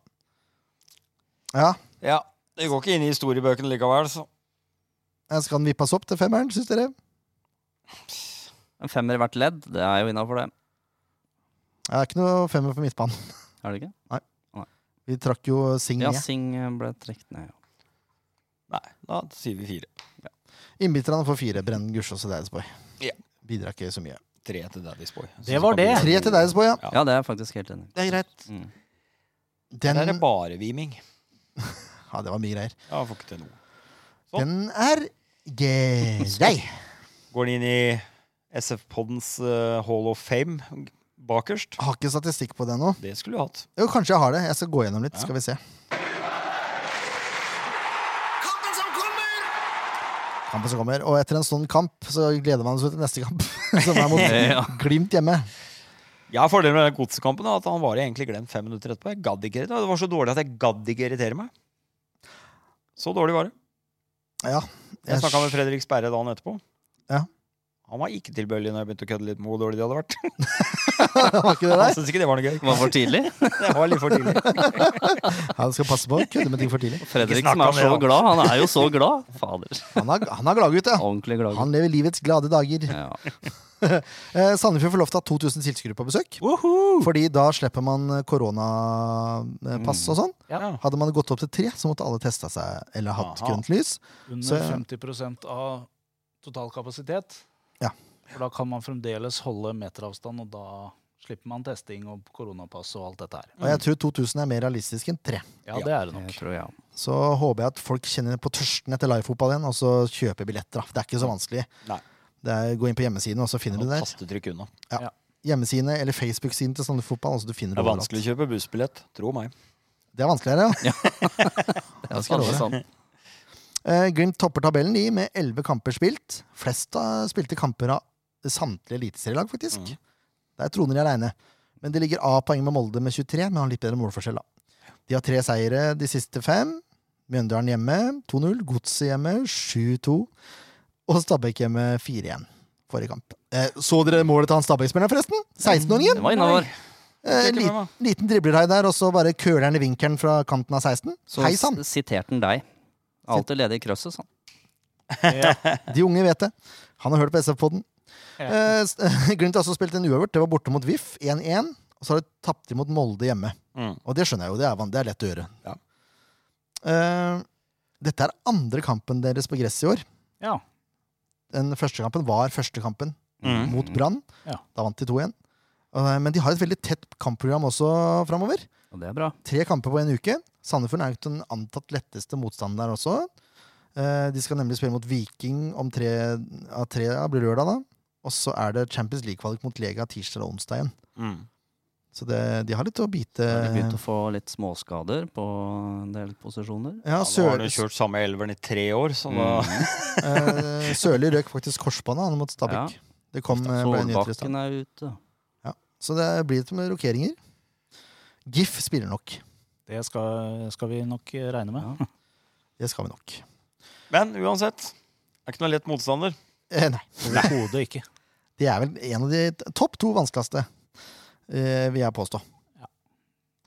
Speaker 1: ha. Ja,
Speaker 4: Ja, Det går ikke inn i historiebøkene likevel, så
Speaker 1: skal han vippes opp til femmeren, syns dere?
Speaker 3: En femmer i hvert ledd, det er jo innafor det.
Speaker 1: Ja, Det er ikke noe femmer på midtbanen.
Speaker 3: Er det ikke?
Speaker 1: Vi trakk jo eh, Sing
Speaker 3: Ja,
Speaker 1: ned.
Speaker 3: Sing ble trukket ned. ja.
Speaker 4: Nei, da sier vi fire.
Speaker 1: Innbytterne får fire. Brennen Gussiås og Deidesboy.
Speaker 4: Ja.
Speaker 1: Bidrar ikke så mye.
Speaker 4: Tre til Daddy's Boy.
Speaker 2: Det var det.
Speaker 1: Tre til Deidesboy, ja.
Speaker 4: Ja.
Speaker 3: Ja, det er jeg faktisk helt enig i.
Speaker 1: Det er greit.
Speaker 3: Mm.
Speaker 1: Den,
Speaker 4: Der er det bare viming.
Speaker 1: ja, det var mye greier.
Speaker 4: Ja, får ikke til noe. Sånn.
Speaker 1: Den er grei.
Speaker 4: Går den inn i SF-poddens eh, Hall of Fame bakerst?
Speaker 1: Har ikke statistikk på den nå.
Speaker 4: Det skulle du hatt.
Speaker 1: Jo, kanskje jeg har det. Jeg skal gå gjennom litt, skal vi se. Kampen som kommer. Og etter en sånn kamp så gleder man seg til neste kamp, som er
Speaker 3: Ja.
Speaker 1: mot Glimt hjemme.
Speaker 4: Jeg har fordelen med den godsekampen da, at han var egentlig glemt fem minutter etterpå. Jeg gadd ikke irritere. Det var så dårlig at jeg gadd ikke irritere meg. Så dårlig var det.
Speaker 1: Ja.
Speaker 4: Jeg snakka med Fredrik Sperre dagen etterpå.
Speaker 1: Ja.
Speaker 4: Han var ikke tilbøyelig når jeg begynte å kødde litt med hvor dårlig de hadde vært.
Speaker 1: Var ikke det
Speaker 4: Han
Speaker 1: der?
Speaker 4: syntes ikke det var noe gøy.
Speaker 3: Var for tidlig?
Speaker 4: Det var litt for tidlig.
Speaker 1: Han skal passe på å kødde med ting for tidlig.
Speaker 3: Fredrik
Speaker 4: Ikke
Speaker 3: som
Speaker 4: snakk
Speaker 3: er
Speaker 4: om det,
Speaker 3: så
Speaker 4: da.
Speaker 3: glad. Han er jo så glad. Fader.
Speaker 1: Han er, han er gladgutt, ja.
Speaker 3: Ordentlig glad.
Speaker 1: Han lever livets glade dager.
Speaker 3: Ja.
Speaker 1: Eh, Sandefjord får lov til å ha 2000 tilskuere på besøk. Fordi da slipper man eh, koronapass
Speaker 4: Mm.
Speaker 1: og sånn.
Speaker 4: Ja.
Speaker 1: Hadde man gått opp til tre, så måtte alle testa seg eller hatt
Speaker 4: Aha.
Speaker 1: grønt lys.
Speaker 2: Under
Speaker 1: Så-
Speaker 2: 50 av total kapasitet.
Speaker 1: Ja.
Speaker 2: For da kan man fremdeles holde meteravstand, og da slipper man testing og koronapass og alt dette her.
Speaker 1: Og
Speaker 4: Mm.
Speaker 1: jeg tror 2000 er mer realistisk enn tre.
Speaker 2: Ja, det er det
Speaker 3: Jeg
Speaker 2: nok.
Speaker 3: tror, ja.
Speaker 1: Så håper jeg at folk kjenner på tørsten etter livefotball igjen, og så kjøper billetter. da. Det er ikke så vanskelig.
Speaker 4: Nei.
Speaker 1: Det er, gå inn på hjemmesiden, og så finner du
Speaker 4: Og
Speaker 1: det der.
Speaker 4: tastetrykk unna.
Speaker 1: Hjemmesiden eller Facebook-siden til Sandefjord Fotball. Altså du finner
Speaker 4: Det
Speaker 1: det,
Speaker 4: er
Speaker 1: overalt.
Speaker 4: vanskelig å kjøpe bussbillett. Tro meg.
Speaker 1: det er vanskeligere, ja. det skal jeg
Speaker 3: Kanskje
Speaker 1: love.
Speaker 3: sånn.
Speaker 1: Eh, Glimt topper tabellen de med elleve kamper spilt. Flest av spilte kamper av samtlige eliteserielag, faktisk.
Speaker 3: Mm.
Speaker 4: Mhm.
Speaker 1: Der troner de aleine. Men det ligger A poeng med Molde med 23, men har litt bedre målforskjell, da. De har tre seire de siste fem. Mjøndalen hjemme 2-0. Godset hjemme 7-2. Og Stabæk hjemme 4-1 forrige kamp. Eh, så dere målet til han Stabæk-spilleren, forresten? 16-åringen.
Speaker 3: Det var innafor.
Speaker 1: Eh,
Speaker 4: Fikk jeg ikke
Speaker 1: liten,
Speaker 4: med meg.
Speaker 1: liten driblerhai der, og så bare køler han i vinkelen fra kanten av 16.
Speaker 3: Så
Speaker 1: Hei sann!
Speaker 3: s- siterte han deg. Alltid ledig i krøsset, sånn.
Speaker 2: Ja.
Speaker 1: De unge vet det. Han har hørt på SF-podden.
Speaker 2: Ja.
Speaker 1: Eh, s- Glimt har også spilt en uavgjort. Det var borte mot VIF 1-1. Og så har de tapt imot Molde hjemme.
Speaker 4: Mm.
Speaker 1: Og det skjønner jeg jo. Det er, van- det er lett å gjøre.
Speaker 4: Ja.
Speaker 1: Eh, dette er andre kampen deres på gress i år.
Speaker 2: ja.
Speaker 1: Den første kampen var første kampen
Speaker 4: Mm.
Speaker 1: mot Brann.
Speaker 2: Mhm. Ja.
Speaker 1: Da vant de 2-1. Eh, Men de har et veldig tett kampprogram også framover.
Speaker 3: Og det er bra.
Speaker 1: Tre kamper på en uke. Sandefjord er jo den antatt letteste motstanderen også. Eh, De skal nemlig spille mot Viking om tre av tre ja, blir lørdag, da. Og så er det Champions League-kvalik mot Lega tirsdag og onsdag igjen.
Speaker 4: Mm.
Speaker 1: Så det, de har litt å bite
Speaker 3: Har de begynt å få litt småskader på en del posisjoner?
Speaker 1: ja, Mm.
Speaker 3: Mm.
Speaker 4: Ja, nå har
Speaker 1: Sør,
Speaker 4: han jo kjørt samme elveren i tre år, så da
Speaker 1: eh, Sørli røk faktisk korsbåndet han, mot Stabæk. Det kom, eh, ble nyheter i stad.
Speaker 3: Solbakken er ute.
Speaker 1: Så det blir litt med rokeringer. GIF spiller nok.
Speaker 2: Det skal, skal vi nok regne med.
Speaker 3: Ja.
Speaker 1: Det skal vi nok.
Speaker 4: Men uansett. Det er ikke noe lett motstander.
Speaker 1: Eh, nei.
Speaker 2: Overhodet ikke.
Speaker 1: De er vel en av de t- topp to vanskeligste, eh, vil jeg påstå.
Speaker 2: Ja.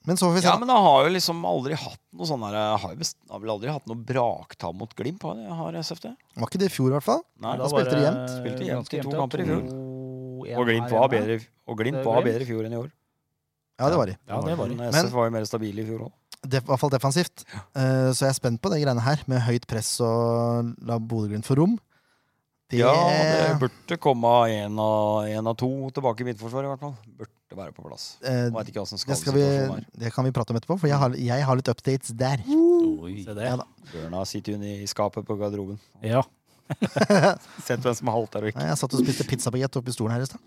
Speaker 1: Men så får vi se.
Speaker 4: Ja,
Speaker 1: da.
Speaker 4: men jeg har jo liksom aldri hatt noe sånn her Jeg har, jo best, jeg har vel aldri hatt noe braktam mot Glimt, har jeg, har SFT?
Speaker 1: Var ikke det i fjor, i hvert fall.
Speaker 4: Nei,
Speaker 1: da spilte de jevnt.
Speaker 4: Spilte jevnt i to kamper i fjor.
Speaker 2: fjor.
Speaker 4: og Glimt var bedre, og glimt
Speaker 2: Det er
Speaker 4: var
Speaker 2: Glimt.
Speaker 4: bedre i fjor enn i år.
Speaker 1: Ja, det var de.
Speaker 2: Ja, det var de.
Speaker 4: Men SF var jo mer stabile i fjor òg.
Speaker 1: Det, I hvert fall defensivt. Eh, så jeg er spent på de greiene her, med høyt press og la Bodø-Glimt få rom. Det,
Speaker 4: Ja, det burde komme én av, en av to tilbake i midtforsvaret, i hvert fall. Burde være på plass.
Speaker 1: eh,
Speaker 4: Jeg vet ikke hvordan
Speaker 1: det, skal vi,
Speaker 4: skadesituasjonen er.
Speaker 1: det kan vi prate om etterpå, for jeg har, jeg har litt updates der.
Speaker 3: Oi.
Speaker 2: Se
Speaker 1: Ja
Speaker 2: det.
Speaker 1: da.
Speaker 4: Bjørnar sitter hun i skapet på garderoben.
Speaker 2: Ja.
Speaker 4: Sett hvem som har halvt der og ikke.
Speaker 1: Nei, Jeg satt og spiste pizzabagett oppe i stolen her i stad.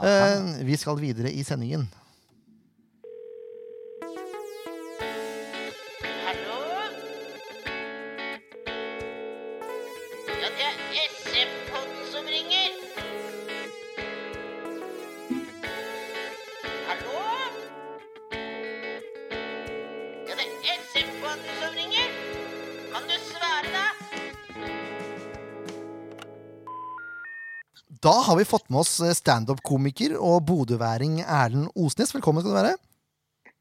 Speaker 4: Ja,
Speaker 1: Eh, vi skal videre i sendingen.
Speaker 5: Hallo? Ja, det er SF-podden som ringer. Hallo? Ja, det er SF-podden som ringer. Kan du svare, da?
Speaker 1: Da har vi fått med oss eh, standup-komiker og bodøværing Erlend Osnes. Velkommen skal du være.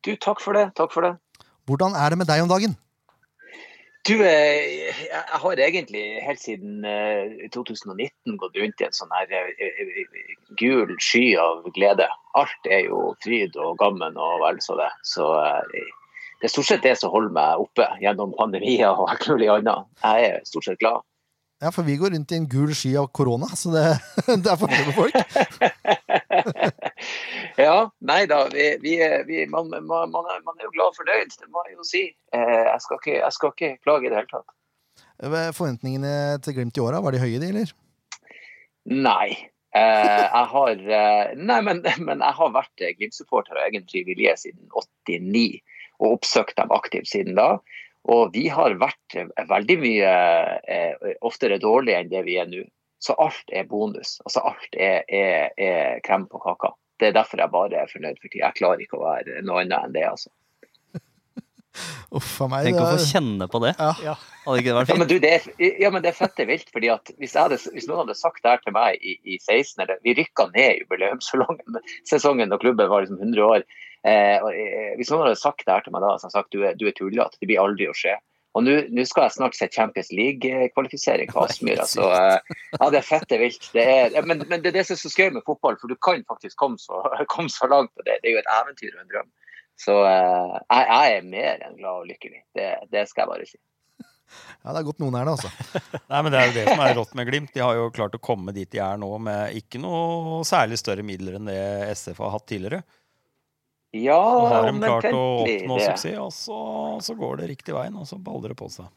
Speaker 6: Du, takk for det. Takk for det.
Speaker 1: Hvordan er det med deg om dagen?
Speaker 6: Du, eh, jeg jeg har egentlig helt siden eh, 2019 gått rundt i en sånn her eh, eh, gul sky av glede. Alt er jo fryd og gammen og vel så det. Så eh, det er stort sett det som holder meg oppe gjennom pandemier og alt mulig annet. Jeg er stort sett glad.
Speaker 1: Ja, for vi går rundt i en gul sky av korona, så det, det er forskjell på folk.
Speaker 6: ja, nei da. Vi, vi, er- vi, man, man, man, er, man er jo glad og fornøyd, det må jeg jo si. Eh, Jeg skal ikke, jeg skal ikke klage i det hele tatt.
Speaker 1: Forventningene til Glimt i åra, var de høye, de, eller?
Speaker 6: Nei. Eh, jeg har eh, Nei, men, men jeg har vært eh, Glimt-supporter av egen fri vilje siden 89, og oppsøkt dem aktivt siden da. Og vi har vært eh, veldig mye eh, oftere dårlige enn det vi er nå. Så alt er bonus. Altså alt er, er, er krem på kaka. Det er derfor jeg bare er fornøyd, fordi jeg klarer ikke å være noe annet enn det, altså.
Speaker 1: Uff a meg.
Speaker 3: Tenk å få
Speaker 1: det er-
Speaker 3: kjenne på det.
Speaker 1: Ja.
Speaker 2: Ja.
Speaker 3: Hadde ikke det vært
Speaker 6: Ja, men,
Speaker 3: fint?
Speaker 6: du, det er, ja, men det er fette vilt. fordi at hvis, jeg hadde, hvis noen hadde sagt det her til meg i, i 16 eller Vi rykka ned i jubileumssesongen sesongen da klubben var liksom 100 år. Eh, og, eh, hvis noen hadde sagt det her til meg da, så hadde jeg sagt du er, du er tullete, det blir aldri å skje. Og nå nå skal jeg snart se Champions League-kvalifisering på Aspmyra. Så eh, ja, det er fette vilt. Det er, ja, men, men det er det som er så gøy med fotball, for du kan faktisk komme så, komme så langt. og det, det er jo et eventyr og en drøm. Så eh, jeg, jeg er mer enn glad og lykkelig. Det, det skal jeg bare si.
Speaker 1: Ja, det er godt noen er det, altså.
Speaker 4: Nei, men Det er jo det som er rått med Glimt. De har jo klart å komme dit de er nå med ikke noe særlig større midler enn det SF har hatt tidligere.
Speaker 6: Ja,
Speaker 4: Så har de klart å
Speaker 6: omtrentlig
Speaker 4: oppnå
Speaker 6: det.
Speaker 4: suksess, og så, så går det riktig veien, og så baller det på seg.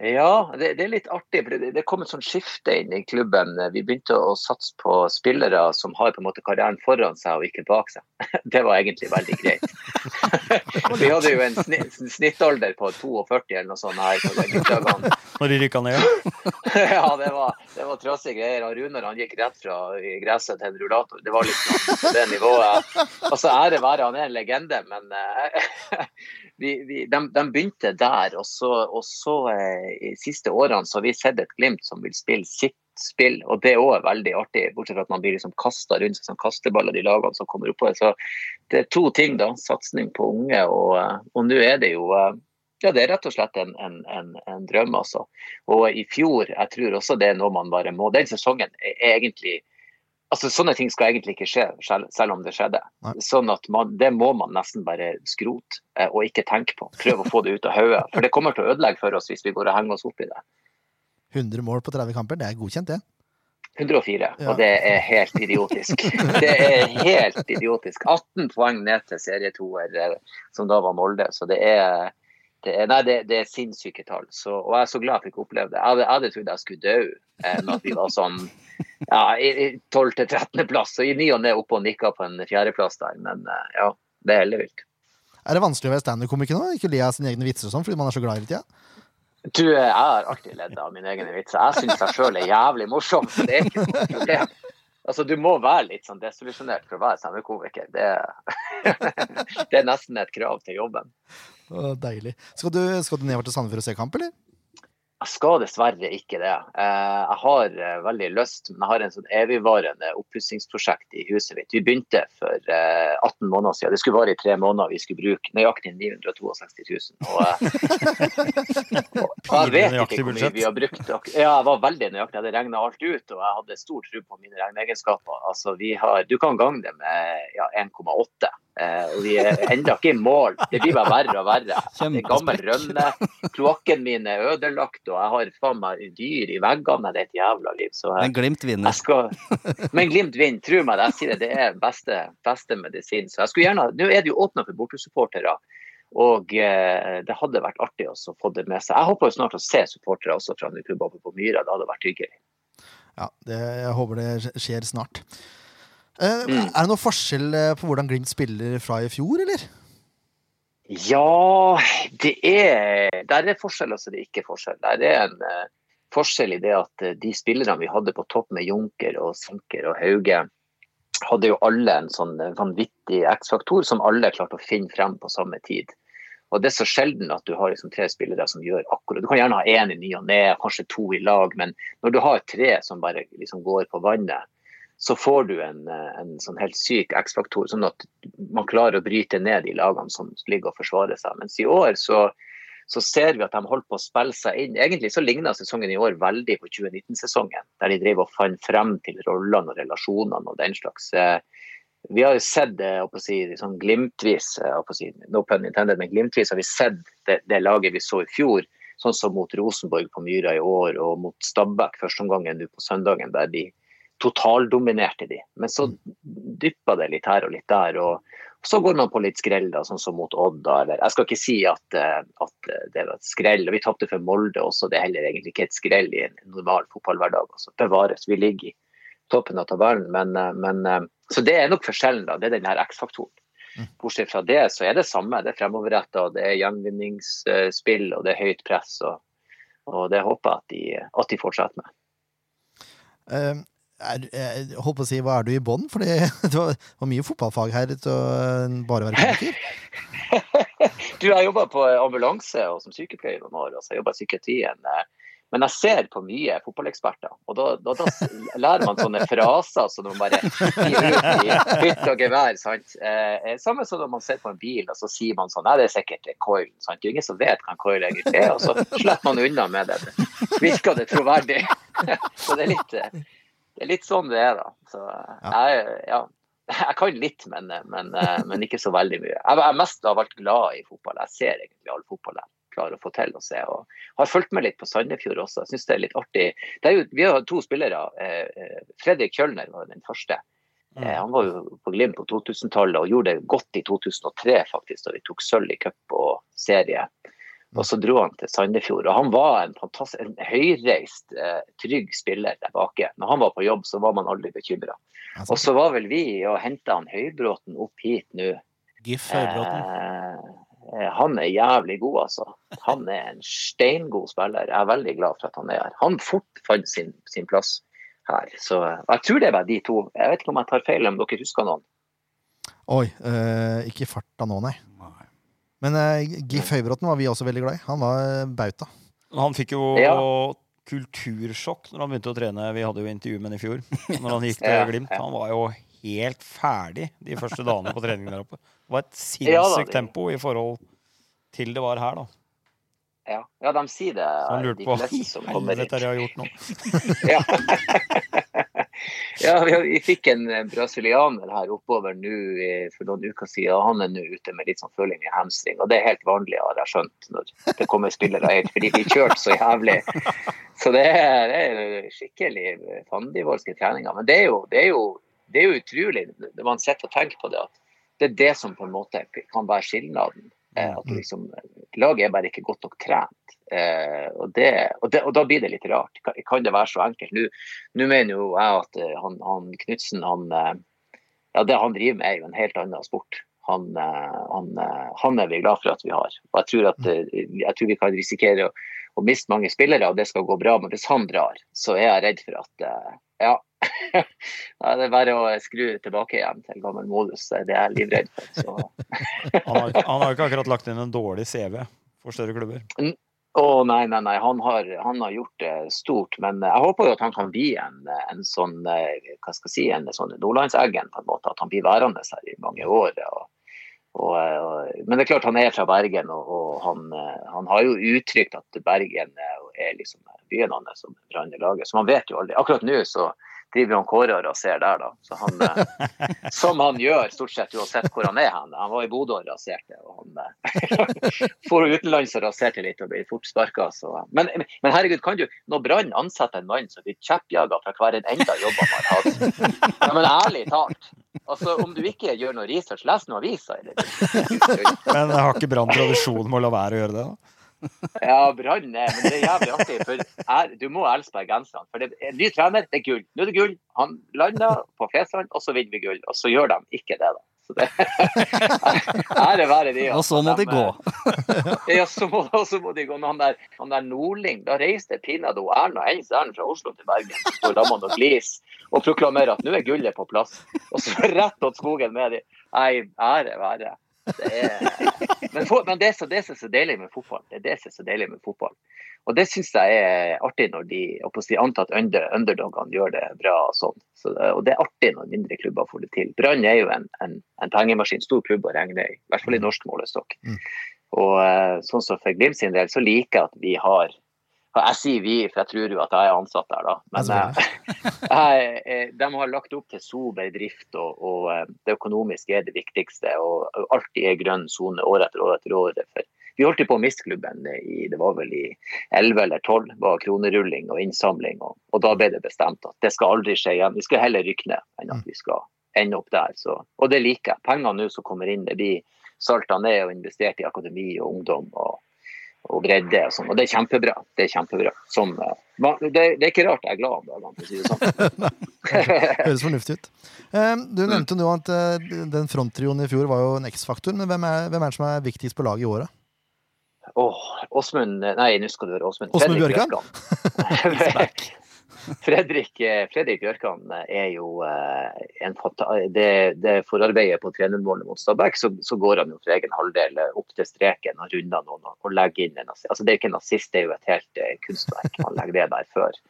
Speaker 6: Ja, det, det er litt artig. for Det, det kom et sånt skifte inn i klubben. Vi begynte å satse på spillere som har på en måte karrieren foran seg og ikke bak seg. Det var egentlig veldig greit. Vi hadde jo en sni- snittalder på 42 eller noe sånt her på den guttedagene.
Speaker 4: Når de rykka ned.
Speaker 6: Ja, det var, det var trassige greier. Og Runar han gikk rett fra gresset til en rullator. Det var liksom på det nivået. Altså, ære være, han er en legende, men eh, vi, vi, de, de begynte der. Og så, og så eh, i siste årene så har vi sett et Glimt som vil spille sitt spill, og det er også veldig artig. Bortsett fra at man blir liksom kasta rundt som kasteballer, de lagene som kommer oppå. Så det er to ting, da. Satsing på unge, og, eh, og nå er det jo eh, ja, det er rett og slett en, en, en, en drøm, altså. Og i fjor, jeg tror også det er noe man bare må. Den sesongen er egentlig Altså, sånne ting skal egentlig ikke skje, selv, selv om det skjedde.
Speaker 1: Nei.
Speaker 6: Sånn at man, det må man nesten bare skrote eh, og ikke tenke på. Prøve å få det ut av hodet. For det kommer til å ødelegge for oss hvis vi går og henger oss opp i det.
Speaker 1: 100 mål på 30 kamper, det er godkjent, det.
Speaker 6: 104,
Speaker 1: Ja.
Speaker 6: og det er helt idiotisk. Det er helt idiotisk. 18 poeng ned til serietoer, eh, som da var Molde. Så det er, det er, nei, det, det er sinnssyke tall. Så, og jeg er så glad jeg fikk oppleve det. Jeg hadde, jeg hadde trodd jeg skulle dø eh, med at vi var sånn ja, i- i 12. til 13. plass. Og i ny og ne oppe og nikka på en fjerdeplass der. Men eh, ja, det er hellevilt.
Speaker 1: Er det vanskelig å være standup-komiker nå? Ikke le av sine egne vitser og sånn, fordi man er så glad hele tida?
Speaker 6: Du, jeg har alltid ledd av mine egne vitser. Jeg syns jeg sjøl er jævlig morsom. så Det er ikke noe problem. Altså, du må være litt sånn desolusjonert for å være standup-komiker. Det, det er nesten et krav til jobben.
Speaker 1: Å, Deilig. Skal du, skal du ned til Sandefjord og se kamp, eller?
Speaker 6: Jeg skal dessverre ikke det. Eh, Jeg har eh, veldig lyst, men jeg har en sånn evigvarende oppussingsprosjekt i huset mitt. Vi begynte for eh, 18 måneder siden. Det skulle vare i tre måneder. Vi skulle bruke nøyaktig 962 000. Og, eh, og jeg vet ikke
Speaker 4: nøyaktig
Speaker 6: hvor mye
Speaker 4: budsjett.
Speaker 6: vi har brukt. Og, ja, jeg var veldig nøyaktig. Jeg hadde regna alt ut, og jeg hadde stor tro på mine regneegenskaper. Altså, vi har, du kan gange det med ja, 1,8. Eh, og vi er ennå ikke i mål. Det blir bare verre og verre. Det er gammel rømme. Kloakken min er ødelagt, og jeg har faen meg dyr i veggene. Det er et jævla liv. Så jeg,
Speaker 3: Men Glimt vinner.
Speaker 6: jeg skal... Men Glimt vinner, tro meg. Jeg sier det, det er beste, beste medisin. Så jeg skulle gjerne... Nå er det jo åpna for bortesupportere. Og eh, det hadde vært artig også å få det med seg. Jeg håper jo snart å se supportere også fra andre klubber oppe på Myra. Det hadde vært hyggelig.
Speaker 1: Ja, det, jeg håper det skj- skjer snart. Eh,
Speaker 6: Mm.
Speaker 1: Er det noen forskjell eh, på hvordan Glimt spiller fra i fjor, eller?
Speaker 6: Ja, det er Der er forskjell, altså. Det er ikke forskjell. Der er en eh, forskjell i det at eh, de spillerne vi hadde på topp med Junker og Sanker og Hauge, hadde jo alle en sånn eh, vanvittig X-faktor som alle klarte å finne frem på samme tid. Og Det er så sjelden at du har liksom tre spillere som gjør akkurat Du kan gjerne ha én i ny og ne, kanskje to i lag, men når du har tre som bare liksom går på vannet, så får du en, eh, en sånn helt syk X-faktor, sånn at man klarer å bryte ned de lagene som ligger og forsvarer seg. Mens i år så, så ser vi at de holder på å spille seg inn. Egentlig så ligner sesongen i år veldig på 2019-sesongen, der de drev og fant frem til rollene og relasjonene og den slags. Eh, Vi har jo sett det jeg holdt på å si, sånn glimtvis, jeg holdt på å si, no pun intended, men glimtvis har vi sett det, det laget vi så i fjor. Sånn som mot Rosenborg på Myra i år og mot Stabæk førsteomgangen nå på søndagen, der de totaldominerte de. Men så dyppa det litt her og litt der. og så går man på litt skrell, da, sånn som mot Odd. Da, eller, jeg skal ikke si at, eh, at det var et skrell. og Vi tapte for Molde også, det er heller egentlig ikke et skrell i en normal fotballhverdag. Altså. Bevares, vi ligger i toppen av tabellen. Men, eh, men, eh, så det er nok forskjellen, da. Det er den her X-faktoren. Bortsett fra det, så er det samme. Det er fremoverretta, det er gjenvinningsspill og det er høyt press. Og, og det håper jeg at de, at de fortsetter med.
Speaker 1: Eh, er, jeg holdt på å si, hva er du i bånn? For det var, var mye fotballfag her til å eh, bare være komiker.
Speaker 6: Du, jeg jobba på eh, ambulanse og som sykepleier i noen år, og så jeg jobba i psykiatrien. eh, Men jeg ser på mye fotballeksperter, og da, da, da s- lærer man sånne fraser som man bare gir ut i hytt og gevær. sant? Eh, eh, samme som når man ser på en bil, og så sier man sånn Nei, det er sikkert en coil. sant? Det er ingen som vet hva en coil egentlig er, og så slipper altså, man unna med det. Virker det troverdig? så det er litt, eh, det er litt sånn det er, da. Så eh, jeg, ja. Jeg kan litt, men, eh, men, men ikke så veldig mye. Jeg er mest av alt glad i fotball. Jeg ser egentlig all fotball jeg klarer å få til å se. Og har fulgt med litt på Sandefjord også. Jeg syns det er litt artig. Det er jo, vi har jo to spillere. eh, eh, Fredrik Kjølner var jo den første. Eh, Han var jo på Glimt på 2000-tallet og gjorde det godt i 2003, faktisk, da de tok sølv i cup og serie. Og så dro han til Sandefjord. Og han var en fantastisk, en høyreist, eh, trygg spiller der bake. Når han var på jobb, så var man aldri bekymra. Og
Speaker 1: Altså,
Speaker 6: så var vel vi og henta han Høybråten opp hit nå.
Speaker 2: Gif Høybråten.
Speaker 6: Eh, han er jævlig god, altså. Han er en steingod spiller. Jeg er veldig glad for at han er her. Han fort fant sin, sin plass her. Så eh, jeg tror det er bare de to. Jeg vet ikke om jeg tar feil, om dere husker noen.
Speaker 1: oi, eh, ikke i farta nå, nei. Men eh, Gif Høybråten var vi også veldig glad i. Han var eh, bauta.
Speaker 4: Han fikk jo
Speaker 6: Ja.
Speaker 4: kultursjokk når han begynte å trene. Vi hadde jo intervju med han i fjor. Når han gikk
Speaker 6: Ja,
Speaker 4: til Glimt.
Speaker 6: ja.
Speaker 4: Han var jo helt ferdig de første dagene på trening der oppe. Det var et
Speaker 6: Ja da,
Speaker 4: sinnssykt
Speaker 6: det-
Speaker 4: tempo i forhold til det var her, da.
Speaker 6: Ja, ja de sier det.
Speaker 4: Så han lurte
Speaker 6: de
Speaker 4: på hva
Speaker 6: fleste
Speaker 4: i
Speaker 6: som kommer hit.
Speaker 4: helvete er det jeg har gjort nå.
Speaker 6: Ja. ja, vi, vi fikk en eh, brasilianer her oppover nå i- for noen uker siden. og Han er nå ute med litt sånn føling i hamstring, og det er helt vanlig, har jeg skjønt, når det kommer spillere hit, fordi de kjørte så jævlig. Så det er, det er skikkelig fandivoldske treninger. Men det er jo, det er jo, det er jo utrolig når man sitter og tenker på det, at det er det som på en måte kan være skilnaden. Eh, At liksom, laget er bare ikke godt nok trent. Eh, og, det, og, det, og da blir det litt rart. Kan, kan det være så enkelt? Nå nå mener jo jeg at eh, han, han Knutsen, han eh, Ja, det han driver med er jo en helt annen sport. Han, eh, han, eh, han er vi glad for at vi har. Og jeg tror, at, eh, jeg tror vi kan risikere å, å miste mange spillere, og det skal gå bra. Men hvis han drar, så er jeg redd for at eh, Ja. Da er det bare å skru tilbake igjen til gammel modus. Det er det jeg er livredd for. Så.
Speaker 4: Han har, han har ikke akkurat lagt inn en dårlig CV for større klubber.
Speaker 6: Å nei, nei, nei. Han har, han har gjort det stort. Men eh, jeg håper jo at han kan bli en, eh, en sånn eh, hva skal jeg si, en sånn Nordlandseggen, på en måte. At han blir værende her i mange år. Og, og, eh, og, men det er klart han er fra Bergen, og, og han, eh, han har jo uttrykt at Bergen eh, er liksom byen hans som brenner laget. Så man vet jo aldri. Akkurat nå så driver han Kåre og raserer der, da. Så han, eh, som han gjør stort sett uansett hvor han er hen. Han var i Bodø og raserte. og han... Eh, for utenlands og raserte litt og ble fort sparka. Men, men herregud, kan du, når Brann ansetter en mann som blir kjeppjaga fra hver en enda jobb han har hatt ja, Men ærlig talt, altså, om du ikke gjør noe research, les noen aviser. Eller?
Speaker 4: Men jeg har ikke Brann tradisjon med å la være å gjøre det, da?
Speaker 6: Ja, Brann er Men det er jævlig artig, for er, du må elske bergenserne. For det er en ny trener, det er gull. Nå er det gull. Han lander på Fesand, og så vinner vi gull. Og så gjør de ikke det, da. Så det, ære være de. eh,
Speaker 3: Og så må de gå.
Speaker 6: Ja, så må, og så må de gå. Men han der, han der Nordling, da reiste pinadø Erna hennes ærend fra Oslo til Bergen for Damman og Glis og proklamere at nå er gullet på plass. Og så rett åt skogen med de. Nei, ære være. Det er, men, for, men det er så- det som er så deilig med fotball. Det er det som er så deilig med fotball. Og det syns jeg er artig når de og på å si antatt under, underdogene gjør det bra og sånn. Så, og det er artig når mindre klubber får det til. Brann er jo en, en, en pengemaskin, stor klubb å regne i. I hvert fall i norsk målestokk. Og eh, sånn som for Glimt sin del, så liker jeg at vi har og Jeg sier vi, for jeg tror jo at jeg er ansatt der, da. Men
Speaker 1: Ja,
Speaker 6: eh, jeg, eh, de har lagt opp til sober drift, og, og eh, det økonomiske er det viktigste. Og og alltid er grønn sone år etter år etter år. For vi holdt jo på å miste klubben i det var vel i 11 eller 12, var kronerulling og innsamling. Og, og da ble det bestemt at det skal aldri skje igjen. Vi skal heller rykke ned enn
Speaker 1: Mm.
Speaker 6: at vi skal ende opp der. Så, og det liker jeg. Pengene nå som kommer inn, det blir salta ned og investert i akademi og ungdom og, og bredde. Og, sånn. og det er kjempebra. Det er kjempebra. Som, eh, man, det, det er ikke rart jeg er glad om dagene, for å si det sånn.
Speaker 1: Høres fornuftig ut. Eh, Du
Speaker 6: Mm.
Speaker 1: nevnte jo nå at eh, den fronttrioen i fjor var jo en X-faktor, men hvem er, hvem er det som er viktigst på laget i året?
Speaker 6: Åh, Åsmund eh, Nei, nå skal du høre Åsmund.
Speaker 1: Åsmund
Speaker 6: Fredrik
Speaker 1: Bjørkan?
Speaker 6: Bjørkan. Fredrik, eh, Fredrik Bjørkan er jo eh, en fanta- det, det forarbeidet på trenermålet mot Stabæk, så, så går han jo for egen halvdel eh, opp til streken og runder noen og- og legger inn en nazist. Altså, det er jo ikke en nazist, det er jo et helt eh, kunstverk. Han legger det der før.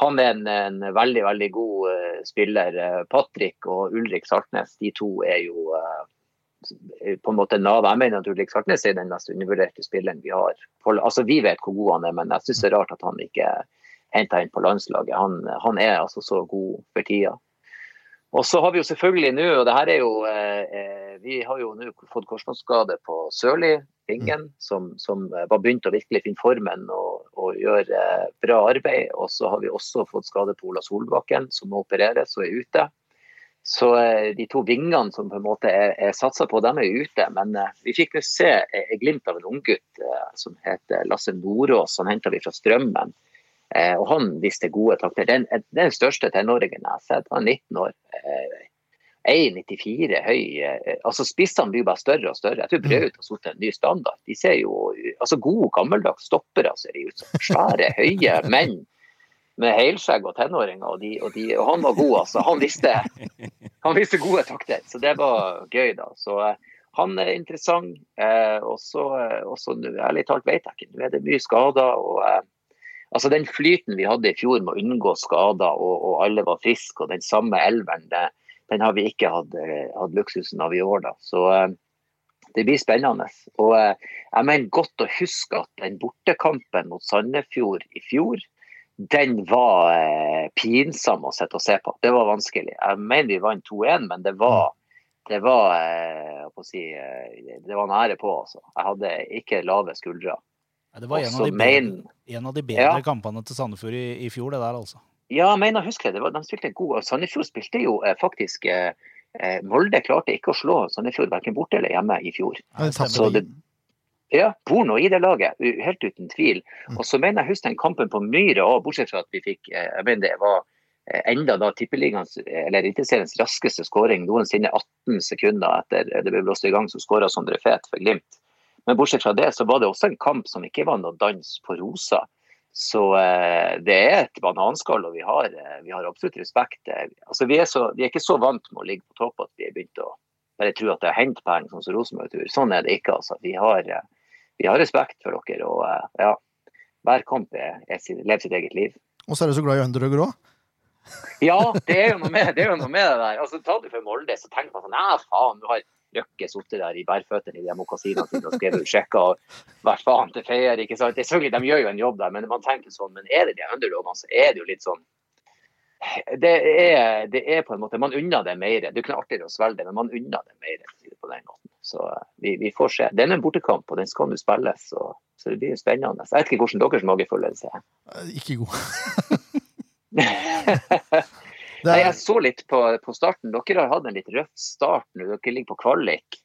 Speaker 6: Han er en, en veldig, veldig god eh, spiller. Eh, Patrick og Ulrik Saltnes, de to er jo eh, på en måte nav. Jeg mener at Ulrik Svartnes er den mest undervurderte spilleren vi har. For, altså, vi vet hvor god han er, men jeg syns det er rart at han ikke er henta inn på landslaget. Han, han er altså så god for tida. Og så har vi jo selvfølgelig nå, og det her er jo eh, eh, Vi har jo nå fått korsbåndskade på Sørli, fingeren, som, som eh, var begynt å virkelig finne formen og, og gjøre eh, bra arbeid. Og så har vi også fått skade på Ola Solbakken, som må opereres og er ute. Så eh, de to vingene som på en måte er, er satsa på, dem er jo ute. Men eh, vi fikk jo se eh, glimt av en unggutt eh, som heter Lasse Nordås. Han henta vi fra Strømmen. Eh, og han viste gode takter. Den, eh, den største tenåringen jeg har sett. Han er 19 år. Eh, 1,94 høy. Eh, altså Spissene blir bare større og større. Jeg tror Braut har satt en ny standard. De ser jo altså Gode, gammeldags stoppere ser de ut som. Svære, høye menn med helskjegg og tenåringer. Og, de, og, de, og han var god, altså. Han visste han viste gode takter, så det var gøy, da. Så eh, han er interessant. Eh, og så, eh, og så nå, ærlig talt, vet jeg ikke. Nå er det mye skader. og eh, Altså Den flyten vi hadde i fjor med å unngå skader og, og alle var friske og den samme elveren, det, den har vi ikke hatt, eh, hatt luksusen av i år. da. Så eh, det blir spennende. Og eh, jeg mener godt å huske at den bortekampen mot Sandefjord i fjor, den var eh, pinsom å sitte og se på. Det var vanskelig. Jeg mener vi vant 2-1, men det var det var, eh, jeg holdt på å si, eh, det var nære på, altså. Jeg hadde ikke lave skuldre.
Speaker 2: Nei, det var en av,
Speaker 6: Også
Speaker 2: de bedre,
Speaker 6: men-
Speaker 2: en av de bedre
Speaker 6: Ja.
Speaker 2: kampene til Sandefjord i, i fjor, det der, altså.
Speaker 6: Ja, jeg mener, husker jeg, det var, de spilte en god og Sandefjord spilte jo eh, faktisk eh, eh, Molde klarte ikke å slå Sandefjord verken borte eller hjemme i fjor.
Speaker 2: Nei,
Speaker 1: det tapte
Speaker 2: stemmer.
Speaker 6: Så det, ja, Porno i det laget, u- helt uten tvil.
Speaker 1: Mm.
Speaker 6: Og så mener jeg husk den kampen på Myra òg, bortsett fra at vi fikk eh, jeg mener det var eh, enda da tippeligaens, eller Eliteseriens raskeste skåring noensinne 18 sekunder etter eh, det ble blåst i gang, som skåra Sondre Fet for Glimt. Men bortsett fra det så var det også en kamp som ikke var noe dans på rosa. Så eh, det er et bananskall, og vi har, eh, vi har absolutt respekt. Eh, Altså, vi, er så, vi er ikke så vant med å ligge på topp at vi har begynt å bare tro at det har hendt poeng, sånn som Rosenborg tror. Sånn er det ikke. altså. Vi har, eh, vi har respekt for dere. og eh, ja, Hver kamp er, er sin, lever sitt eget liv.
Speaker 1: Og så er du så glad i underdogger òg.
Speaker 6: Ja, det er jo noe med det, er jo noe med det der. Altså, Ta det for Molde, så tenker man sånn Nei, faen, nå har Røkke sittet der i bærføttene i de mokasinene sine og skrevet ut sjekker og vært faen til feier, ikke sant. Det er Selvfølgelig, de gjør jo en jobb der, men man tenker sånn Men er det de underdogene, så er det jo litt sånn det er, det er på en måte Man unner det mer. Det er jo ikke noe artigere å svelge det, men man unner det mer for å si det på den måten. Så eh, vi, vi får se. Det er en bortekamp, og den skal nå spilles, så, så det blir jo spennende. Jeg vet ikke hvordan deres magefølelse er.
Speaker 1: Eh, Ikke god. Det
Speaker 6: Nei,
Speaker 1: er,
Speaker 6: jeg så litt på, på starten. Dere har hatt en litt røff start nå. Dere ligger på kvalik.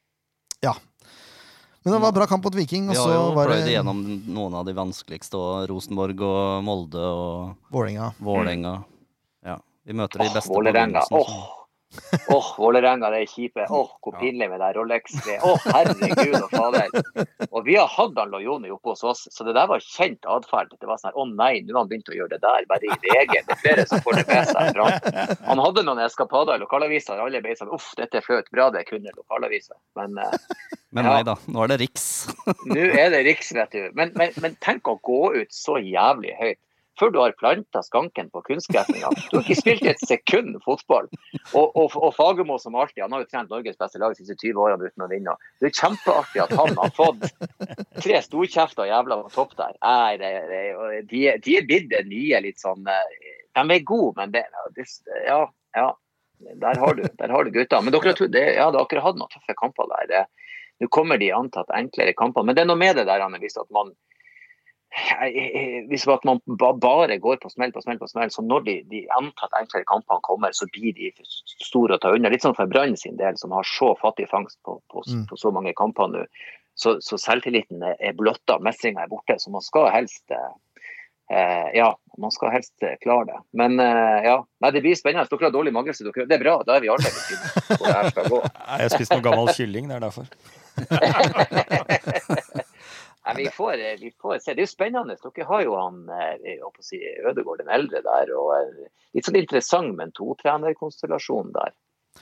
Speaker 1: men det var bra kamp mot Viking, og
Speaker 3: Vi
Speaker 1: så
Speaker 3: har jo
Speaker 1: var
Speaker 3: pløyd
Speaker 1: det
Speaker 3: igjennom noen av de vanskeligste, og Rosenborg og Molde og
Speaker 1: Vålerenga.
Speaker 3: Vålerenga. Ja. Vi møter de
Speaker 6: Åh,
Speaker 3: beste på
Speaker 6: Ah, Vålerenga.
Speaker 3: begynnelsen,
Speaker 6: Åh,
Speaker 3: så-
Speaker 6: åh, Vålerenga, det er kjipe. Åh, hvor pinlig med det Rolex-greia. Åh, herregud og fader. Og vi har hatt han Lojone oppe hos oss, så det der var kjent atferd. Det var sånn her, å nei, nå har han begynt å gjøre det der, bare i VG. Det er flere som får det med seg. Bra. Han hadde noen eskapader i lokalaviser, alle ble sånn, uff, dette er flaut. Bra det kunne lokalaviser. Men eh,
Speaker 3: Men
Speaker 6: Ja.
Speaker 3: nei da, nå er det Riks.
Speaker 6: Nå er det Riks, vet du. Men, men, men tenk å gå ut så jævlig høyt. Før du har planta skanken på kunstgressinga. Du har ikke spilt et sekund fotball. Og, og, og Fagermo, som alltid, han har jo trent Norges beste lag de siste 20 årene uten å vinne. Det er kjempeartig at han har fått tre storkjefter og jævla på topp der. Nei, det, det, og de, er- de er blitt det nye litt sånn eh, De er gode, men det, det Ja, ja. Der har du, der har du gutta. Men dere har, to- det, ja, dere har hatt noen tøffe kamper der. Det, nå kommer de antatt enklere kampene. Men det er noe med det der, Anne, hvis at man hvis at man ba- bare går på smell på smell, på smell, så når de, de antatt enklere kampene kommer, så blir de for store å ta unna. Litt sånn for Brann sin del, som har så fattig fangst på, på,
Speaker 1: Mm.
Speaker 6: på så mange kamper nå. Så, så selvtilliten er- er blotta, mestringa er borte. Så man skal helst eh, eh, Ja, man skal helst eh, klare det. Men eh, ja, Nei, det blir spennende. Dere har dårlig magelse. Dere. Det er bra, da er vi alle litt tydelige på hvor det her skal gå.
Speaker 4: Nei, Jeg spiste noe gammel kylling, det er derfor.
Speaker 6: Nei, vi, får, eh, vi får se. Det er jo spennende. Dere har jo han eh, jeg holdt på å si, Ødegaard den eldre der. og eh, Litt sånn interessant med en totrenerkonstellasjon der.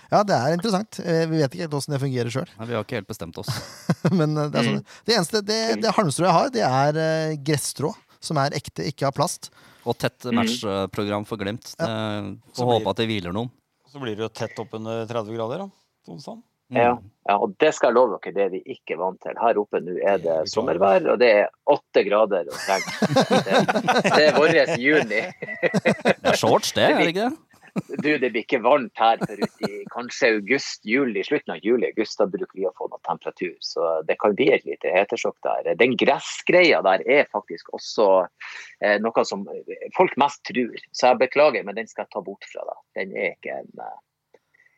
Speaker 1: Ja, det er interessant. Eh, Vi vet ikke helt åssen det fungerer sjøl.
Speaker 3: Nei, vi har ikke helt bestemt oss.
Speaker 1: Men eh, det er sånn.
Speaker 6: Mm.
Speaker 1: Det eneste det, det halmstrået jeg har, det er eh, gresstrå. Som er ekte, ikke av plast.
Speaker 3: Og tett
Speaker 6: Mm.
Speaker 3: matchprogram for Glimt. Det- Får
Speaker 4: blir-
Speaker 3: håpe at det hviler noen.
Speaker 4: Så blir det jo tett oppunder 30 grader, da. på onsdag.
Speaker 3: Mm.
Speaker 6: Ja. Ja, og Det skal jeg love dere, det er vi ikke vant til. Her oppe nå er det sommervær, og det er åtte grader og regn. Det, det er vår juni.
Speaker 3: Det er shorts, det, er det ikke det?
Speaker 6: Du, det blir ikke varmt her før ut i kanskje august, juli, slutten av juli, august. Da bruker vi å få noe temperatur, så det kan bli et lite hetesjokk der. Den gressgreia der er faktisk også eh, noe som folk mest tror, så jeg beklager, men den skal jeg ta bort fra deg. Den er ikke en eh,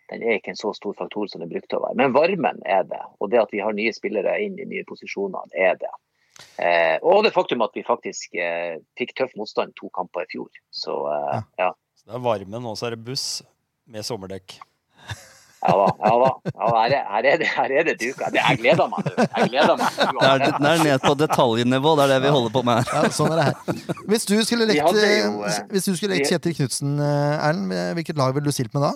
Speaker 6: den er ikke en så stor faktor som den brukte å være. Men varmen er det. Og det at vi har nye spillere inn i nye posisjoner, det er det. Eh, og det faktum at vi faktisk eh, fikk tøff motstand to kamper i fjor. Så eh, ja.
Speaker 4: Så det er varmen, og så er det buss med sommerdekk.
Speaker 6: Ja da. ja da. Ja, her, er, her, er det, her er det duka. Det, jeg gleder meg nå. Jeg gleder meg.
Speaker 3: Det er, det er ned på detaljnivå, det er det vi holder på med her.
Speaker 1: Ja, sånn er det her. Hvis du skulle lekt,
Speaker 6: hadde jo,
Speaker 1: eh,
Speaker 6: eh,
Speaker 1: hvis du skulle lekt
Speaker 6: vi-
Speaker 1: Kjetil Knutsen, Erlend, eh, hvilket lag ville du stilt med da?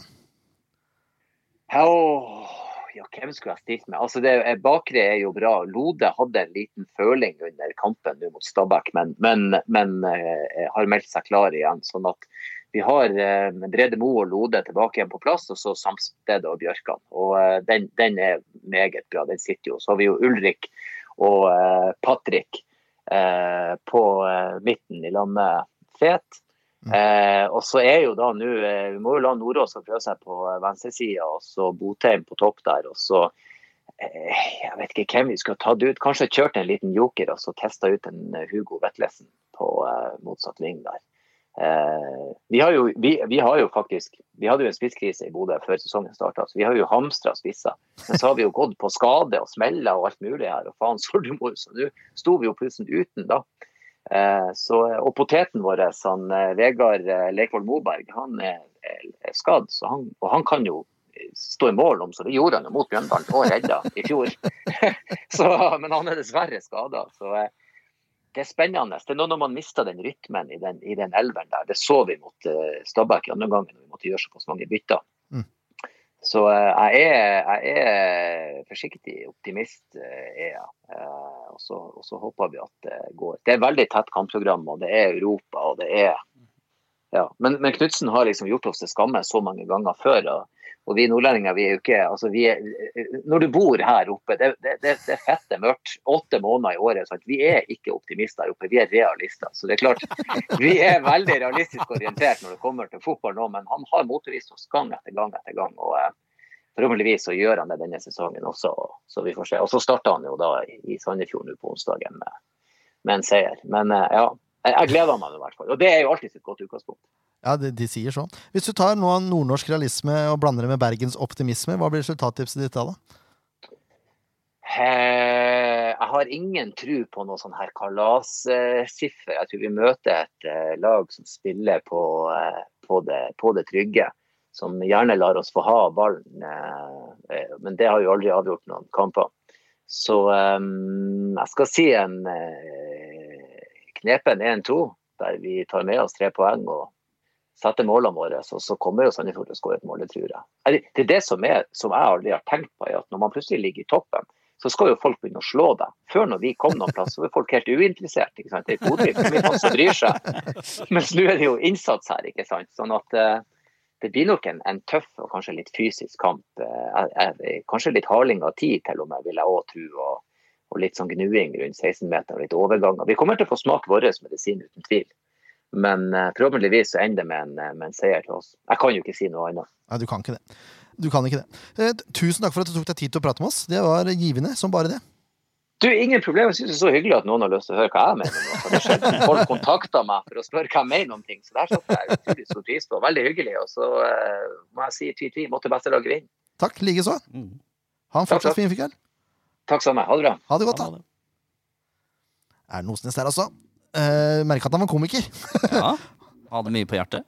Speaker 6: Åh, ja, hvem skulle jeg stilt med? Altså, det, er- Bakre er jo bra. Lode hadde en liten føling under kampen nå mot Stabæk, men, men, men eh, har meldt seg klar igjen. sånn at vi har eh, Brede Moe og Lode tilbake igjen på plass, og så Samstedet og Bjørkan. Og eh, den, den er meget bra, den sitter jo. Så har vi jo Ulrik og eh, Patrick eh, på eh, midten i lag med Fet. Eh, og så er jo da nå eh, Vi må jo la Nordås få prøve seg på eh, venstresida, og så Botheim på topp der. Og så eh, Jeg vet ikke hvem vi skulle tatt ut. Kanskje kjørt en liten joker og så testa ut en eh, Hugo Vetlesen på eh, motsatt ving der. Eh, vi, har jo, vi, vi har jo faktisk Vi hadde jo en spisskrise i Bodø før sesongen starta, så vi har jo hamstra spisser. Men så har vi jo gått på skade og smeller og alt mulig her, og faen så du mor, så nå sto vi jo plutselig uten, da. Eh, Så, og poteten vår, han, eh, Vegard eh, Leikvoll Moberg, han er er skadd. Så han, og han kan jo eh, stå i mål om, så det gjorde han jo mot Bjørndalen og redda i fjor. så, men han er dessverre skada. Så eh, det er spennende. Det er noe når man mister den rytmen i den, i den elveren der. Det så vi mot eh, Stabæk i andre gangen, når vi måtte gjøre såpass mange bytter.
Speaker 1: Mm.
Speaker 6: Så eh, jeg, er, jeg er forsiktig optimist, eh, er jeg. Eh, og så- og så håper vi at det går. Det er veldig tett kampprogram, og det er Europa, og det er ja. Men, men Knutsen har liksom gjort oss til skamme så mange ganger før. Og, og vi nordlendinger, vi er jo ikke altså vi er, Når du bor her oppe, det, det, det, det er fette mørkt åtte måneder i året. Sant? Vi er ikke optimister her oppe, vi er realister. Så det er klart, vi er veldig realistisk orientert når det kommer til fotball nå, men han har motvist oss gang etter gang etter gang. og eh, Forhåpentligvis så gjør han det denne sesongen også, så vi får se. Og så starter han jo da i- i Sandefjord nå på onsdagen med, med en seier. Men eh, ja, jeg, jeg gleder meg nå i hvert fall. Og det er jo alltid et godt utgangspunkt.
Speaker 1: Ja, de, de sier sånn. Hvis du tar nå nordnorsk realisme og blander det med Bergens optimisme, hva blir resultattipset ditt da? da?
Speaker 6: Eh, Jeg har ingen tro på noe sånn her kalassiffer. Jeg tror vi møter et eh, lag som spiller på, eh, på, det, på det trygge. Som gjerne lar oss få ha ballen. eh, eh, Men det har jo aldri avgjort noen kamper. Så eh, jeg skal si en eh, knepen 1-2, der vi tar med oss tre poeng og setter målene våre. Så, så kommer jo Sandefjord til å skåre et mål, det tror jeg. Eller, Det er det som, er, som jeg aldri har tenkt på, er at når man plutselig ligger i toppen så skal jo folk begynne å slå deg. Før når vi kom noen plass, så var folk helt uinteressert. Ikke sant? Det er Bodø, det er mye folk som bryr seg. Mens nå er det jo innsats her, ikke sant. Sånn at eh, det blir nok en, en tøff og kanskje litt fysisk kamp. Eh, jeg- jeg- kanskje litt hardling av tid til og med, vil jeg òg tro. Og, og litt sånn gnuing rundt 16-meteren og litt overganger. Vi kommer til å få smake vår medisin uten tvil. Men eh, forhåpentligvis så ender det med, en, eh, med en seier til oss. Jeg kan jo ikke si noe annet.
Speaker 1: Nei, du kan ikke det. Du kan ikke det. Eh, Tusen takk for at du tok deg tid til å prate med oss. Det var givende som bare det.
Speaker 6: Du, ingen problem. Jeg synes det er så hyggelig at noen har lyst til å høre hva jeg mener. om noe. For Det er sjelden folk kontakter meg for å spørre hva jeg mener om ting. Så der satte jeg utrolig stor pris på. Veldig hyggelig. Og så eh, må jeg si tvi-tvi. Måtte beste laget vinne.
Speaker 1: Takk likeså.
Speaker 3: Mm.
Speaker 1: Ha en fortsatt
Speaker 6: takk.
Speaker 1: fin fikkel.
Speaker 6: Takk sammen. Ha det bra.
Speaker 1: Ha det godt, da. Er det Nosnes der, altså? Eh, Merka at han var komiker.
Speaker 3: Ja. Hadde mye på hjertet.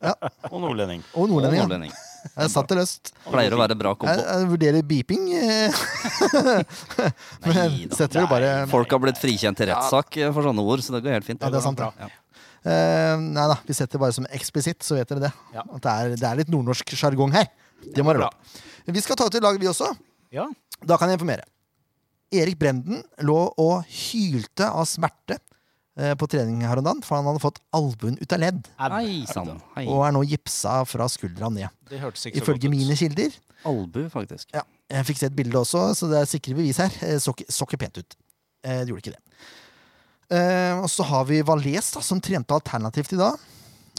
Speaker 4: Og nordlending.
Speaker 1: Og
Speaker 3: Og
Speaker 1: nordlending. ja.
Speaker 3: nordlending.
Speaker 1: Jeg satt det løst.
Speaker 3: Pleier å være bra
Speaker 1: Jeg,
Speaker 3: kombo.
Speaker 1: jeg vurderer beeping. eh, Men jeg
Speaker 3: Neida.
Speaker 1: setter det bare
Speaker 3: Folk har blitt frikjent i rettssak eh, for sånne ord, så det går helt fint.
Speaker 1: Ja, det er sant, det. eh, Nei da, vi setter det bare som eksplisitt, så vet dere det.
Speaker 2: Ja.
Speaker 1: At det er, det er litt nordnorsk sjargong her. Det må være lov. Vi skal ta ut et lag, vi også.
Speaker 2: Ja.
Speaker 1: Da kan jeg informere. Erik Brenden lå og hylte av smerte eh, på trening her om dagen, for han hadde fått albuen ut av ledd,
Speaker 3: Hei sann. Hei.
Speaker 1: og er nå gipsa fra skuldra ned.
Speaker 2: Det hørtes ikke så godt
Speaker 1: Ifølge
Speaker 2: ut.
Speaker 1: mine kilder.
Speaker 3: Albu, faktisk.
Speaker 1: Ja, jeg fikk se et bilde også, så det er sikre bevis her. Eh, Så ikke så ikke pent ut. Eh, Det gjorde ikke det. Eh, Og så har vi Valais, da, som trente alternativt i dag.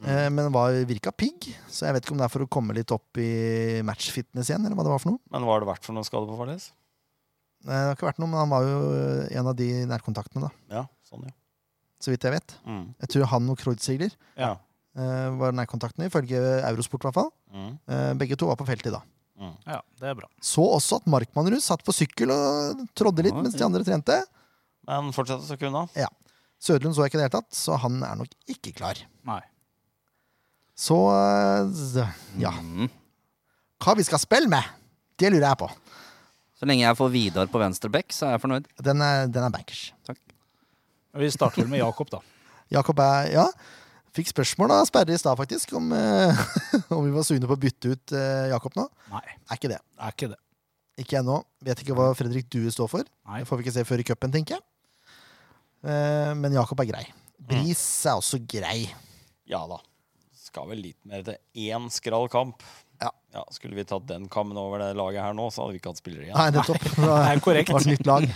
Speaker 2: Mm.
Speaker 1: eh, Men var virka pigg, så jeg vet ikke om det er for å komme litt opp i matchfitness igjen. Eller hva det var for noe
Speaker 4: Men hva har det vært for noen skade på Farnes?
Speaker 1: Eh, Det har ikke vært noe, men han var jo eh, en av de nærkontaktene, da.
Speaker 4: Ja, sånn, ja.
Speaker 1: Så vidt jeg vet.
Speaker 4: Mm.
Speaker 1: Jeg tror han og Kreuzigler
Speaker 4: Ja.
Speaker 1: eh, var nærkontaktene, ifølge Eurosport i hvert fall.
Speaker 4: Mm.
Speaker 1: Eh, Begge to var på feltet i dag.
Speaker 2: Ja, det er bra.
Speaker 1: Så også at Markmannrud satt på sykkel og trådde litt
Speaker 3: Ja,
Speaker 1: mens de
Speaker 3: ja.
Speaker 1: andre trente.
Speaker 4: Men fortsett å søke unna.
Speaker 1: Sødlund så jeg ikke i det hele tatt, så han er nok ikke klar.
Speaker 2: Nei.
Speaker 1: Så eh, ja.
Speaker 3: Mm.
Speaker 1: Hva vi skal spille med, det lurer jeg på.
Speaker 3: Så lenge jeg får Vidar på venstre bekk, så er jeg fornøyd.
Speaker 1: Den er, den er bankers.
Speaker 2: Vi starter vel med Jakob, da.
Speaker 1: Jakob er Ja, fikk spørsmål av Sperre i stad, faktisk, om, eh, om vi var sugne på å bytte ut eh, Jakob nå.
Speaker 2: Nei,
Speaker 1: Er ikke det.
Speaker 2: det er ikke det.
Speaker 1: Ikke ennå. Vet ikke hva Fredrik Due står for.
Speaker 2: Nei.
Speaker 1: Det får vi ikke se før i cupen, tenker jeg. Eh, Men Jakob er grei. Bris
Speaker 4: Mm.
Speaker 1: er også grei.
Speaker 4: Ja da. Skal vel litt mer til én skral kamp.
Speaker 1: Ja.
Speaker 4: Skulle vi tatt den kammen over det laget her nå, så hadde vi ikke hatt spillere igjen.
Speaker 1: Nei, nettopp. Det
Speaker 2: Det er korrekt.
Speaker 1: var et nytt lag.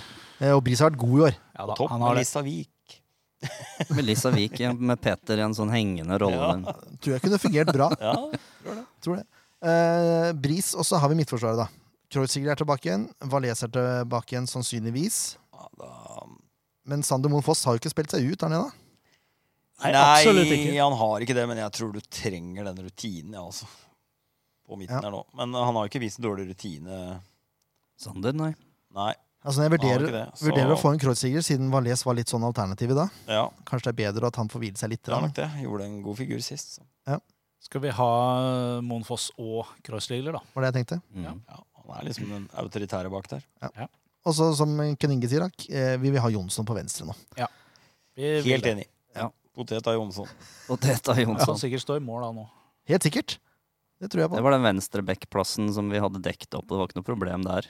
Speaker 1: Eh, Og Bris har vært god i år.
Speaker 2: Ja, da,
Speaker 4: Topp
Speaker 2: han
Speaker 4: med
Speaker 2: har det.
Speaker 4: Lissa Vik.
Speaker 3: Melissa Wiik med Peter i en sånn hengende rolle.
Speaker 4: Ja.
Speaker 3: der.
Speaker 1: Tror jeg kunne fungert bra.
Speaker 4: Ja.
Speaker 1: Tror det. Eh, Bris, og så har vi midtforsvaret, da. Kreuziger er tilbake igjen. Valais er tilbake igjen, sannsynligvis.
Speaker 4: Ja, da-
Speaker 1: Men Sander Moen Foss har jo ikke spilt seg ut der nede, da.
Speaker 2: Nei,
Speaker 4: Nei,
Speaker 2: absolutt ikke.
Speaker 4: han har ikke det, men jeg tror du trenger den rutinen, ja, altså. På midten
Speaker 1: Ja.
Speaker 4: her nå. Men eh, han har jo ikke vist dårlig rutine.
Speaker 3: Sander, Sånn nei.
Speaker 4: Nei.
Speaker 1: Altså, når jeg
Speaker 4: Han har
Speaker 1: vurderer,
Speaker 4: ikke det, så-
Speaker 1: vurderer å få en Kreuziger, siden Valais var litt sånn alternativ i dag.
Speaker 4: Ja,
Speaker 1: Kanskje det er bedre at han får hvile seg litt.
Speaker 4: det er
Speaker 1: da.
Speaker 4: nok det. Gjorde en god figur sist. Så.
Speaker 2: Skal vi ha Moen Foss og Kreuzligler, da?
Speaker 1: Var det jeg tenkte.
Speaker 3: Mm.
Speaker 4: Ja, han er liksom den autoritære bak der.
Speaker 1: Og så, som Ken Inge sier, da, k- eh, vi vil ha Jonsson på venstre nå.
Speaker 2: Vi vil
Speaker 4: Helt
Speaker 2: det.
Speaker 4: enig.
Speaker 3: Ja.
Speaker 4: Potet av Jonsson.
Speaker 3: Og
Speaker 2: Han
Speaker 3: Teta
Speaker 2: kan
Speaker 3: Jonsson.
Speaker 2: sikkert stå i mål da nå.
Speaker 1: Helt sikkert. Det tror jeg
Speaker 3: Det
Speaker 1: på.
Speaker 3: var den venstreback-plassen som vi hadde dekt opp. Det var ikke noe problem der.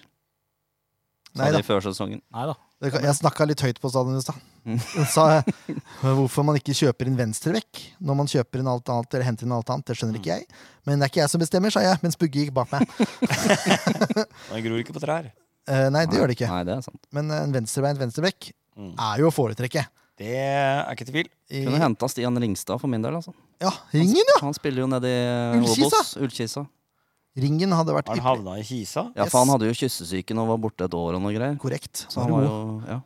Speaker 1: Nei
Speaker 3: Sa
Speaker 1: da.
Speaker 3: de før sesongen.
Speaker 2: Nei da.
Speaker 1: Det kan- Jeg snakka litt høyt på stadion i stad.
Speaker 3: Mm.
Speaker 1: Så sa jeg hvorfor man ikke kjøper inn venstrevekk når man kjøper inn alt annet eller henter inn alt annet. Det skjønner
Speaker 3: Mm.
Speaker 1: ikke jeg. Men det er ikke jeg som bestemmer, sa jeg, mens Bugge gikk bak meg.
Speaker 4: Den gror ikke på trær.
Speaker 1: Eh, nei, det gjør det ikke.
Speaker 3: Nei, det er sant.
Speaker 1: Men en venstrebeint venstrebekk
Speaker 4: Mm.
Speaker 1: er jo å foretrekke.
Speaker 4: Det er ikke til tvil.
Speaker 1: I,
Speaker 3: Kunne henta Stian Ringstad for min del, altså.
Speaker 1: ja, ringen, ja!
Speaker 3: Han spiller jo nede i eh,
Speaker 1: Ullkisa.
Speaker 3: Obos. Ullkisa.
Speaker 1: Ringen hadde vært
Speaker 4: Han
Speaker 1: ypperlig.
Speaker 4: havna i Kisa.
Speaker 3: Ja,
Speaker 1: Yes.
Speaker 3: for han hadde jo kyssesyken og var borte et år og noe greier.
Speaker 1: Korrekt.
Speaker 3: Så han var jo Ja.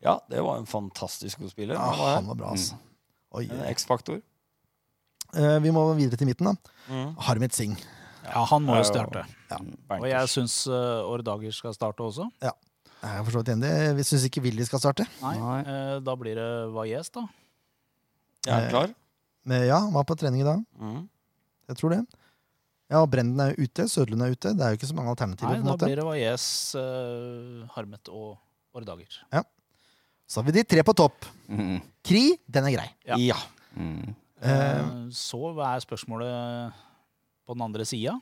Speaker 4: Ja, det var en fantastisk god spiller.
Speaker 1: ja,
Speaker 4: Han var
Speaker 1: han var bra,
Speaker 3: Mm.
Speaker 1: altså. Oi,
Speaker 4: en
Speaker 1: oi.
Speaker 4: X-faktor.
Speaker 1: Eh, vi må videre til midten, da.
Speaker 4: Mm.
Speaker 1: Harmet Singh.
Speaker 2: Ja, han må jo
Speaker 4: Ja, ja, ja.
Speaker 2: starte. Og
Speaker 4: Bankers.
Speaker 2: jeg syns Ordager skal starte også.
Speaker 1: Jeg er for så vidt enig. Vi syns ikke Willy skal starte.
Speaker 2: Nei.
Speaker 3: Nei.
Speaker 2: eh, Da blir det Valles, da.
Speaker 4: Jeg er klar.
Speaker 1: Men ja, han var på trening i dag.
Speaker 4: Mm.
Speaker 1: Jeg tror det. Ja, og Brenden er jo ute, Sødlund er ute. Det er jo ikke så mange alternativer.
Speaker 2: Nei,
Speaker 1: på en
Speaker 2: da
Speaker 1: måte.
Speaker 2: blir det Valles, eh, Harmet og Ordager.
Speaker 1: Så har vi de tre på topp.
Speaker 3: Mm.
Speaker 1: Kri, den er grei.
Speaker 2: Ja.
Speaker 4: Ja.
Speaker 3: Mm.
Speaker 1: Eh,
Speaker 2: Eh, Så hva er spørsmålet på den andre sida?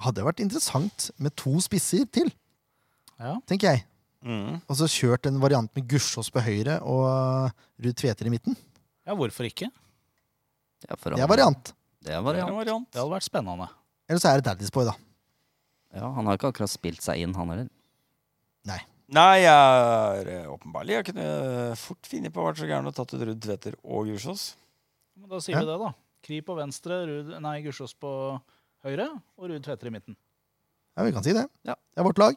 Speaker 1: hadde vært interessant med to spisser til,
Speaker 2: Ja.
Speaker 1: tenker jeg.
Speaker 4: Mm.
Speaker 1: Og så kjørt en variant med Gussiås på høyre og Ruud Tveter i midten.
Speaker 2: ja, hvorfor ikke?
Speaker 3: Ja, for
Speaker 1: Det
Speaker 3: han-
Speaker 1: er variant.
Speaker 3: Det er
Speaker 4: Det er en
Speaker 3: variant.
Speaker 4: variant.
Speaker 2: Det hadde vært spennende.
Speaker 1: Eller så er det Daddy's Boy, da.
Speaker 3: Ja, han har ikke akkurat spilt seg inn, han heller.
Speaker 4: Nei, jeg er eh, åpenbarlig Jeg kunne eh, fort finne på å vært så gæren og tatt ut Ruud Tveter og Gursås.
Speaker 2: Men da sier
Speaker 1: Ja.
Speaker 2: vi det, da. Kri på venstre, Rud, nei, Gussiås på høyre og Ruud Tveter i midten.
Speaker 1: Ja, vi kan si det.
Speaker 3: Ja.
Speaker 1: Det er vårt lag.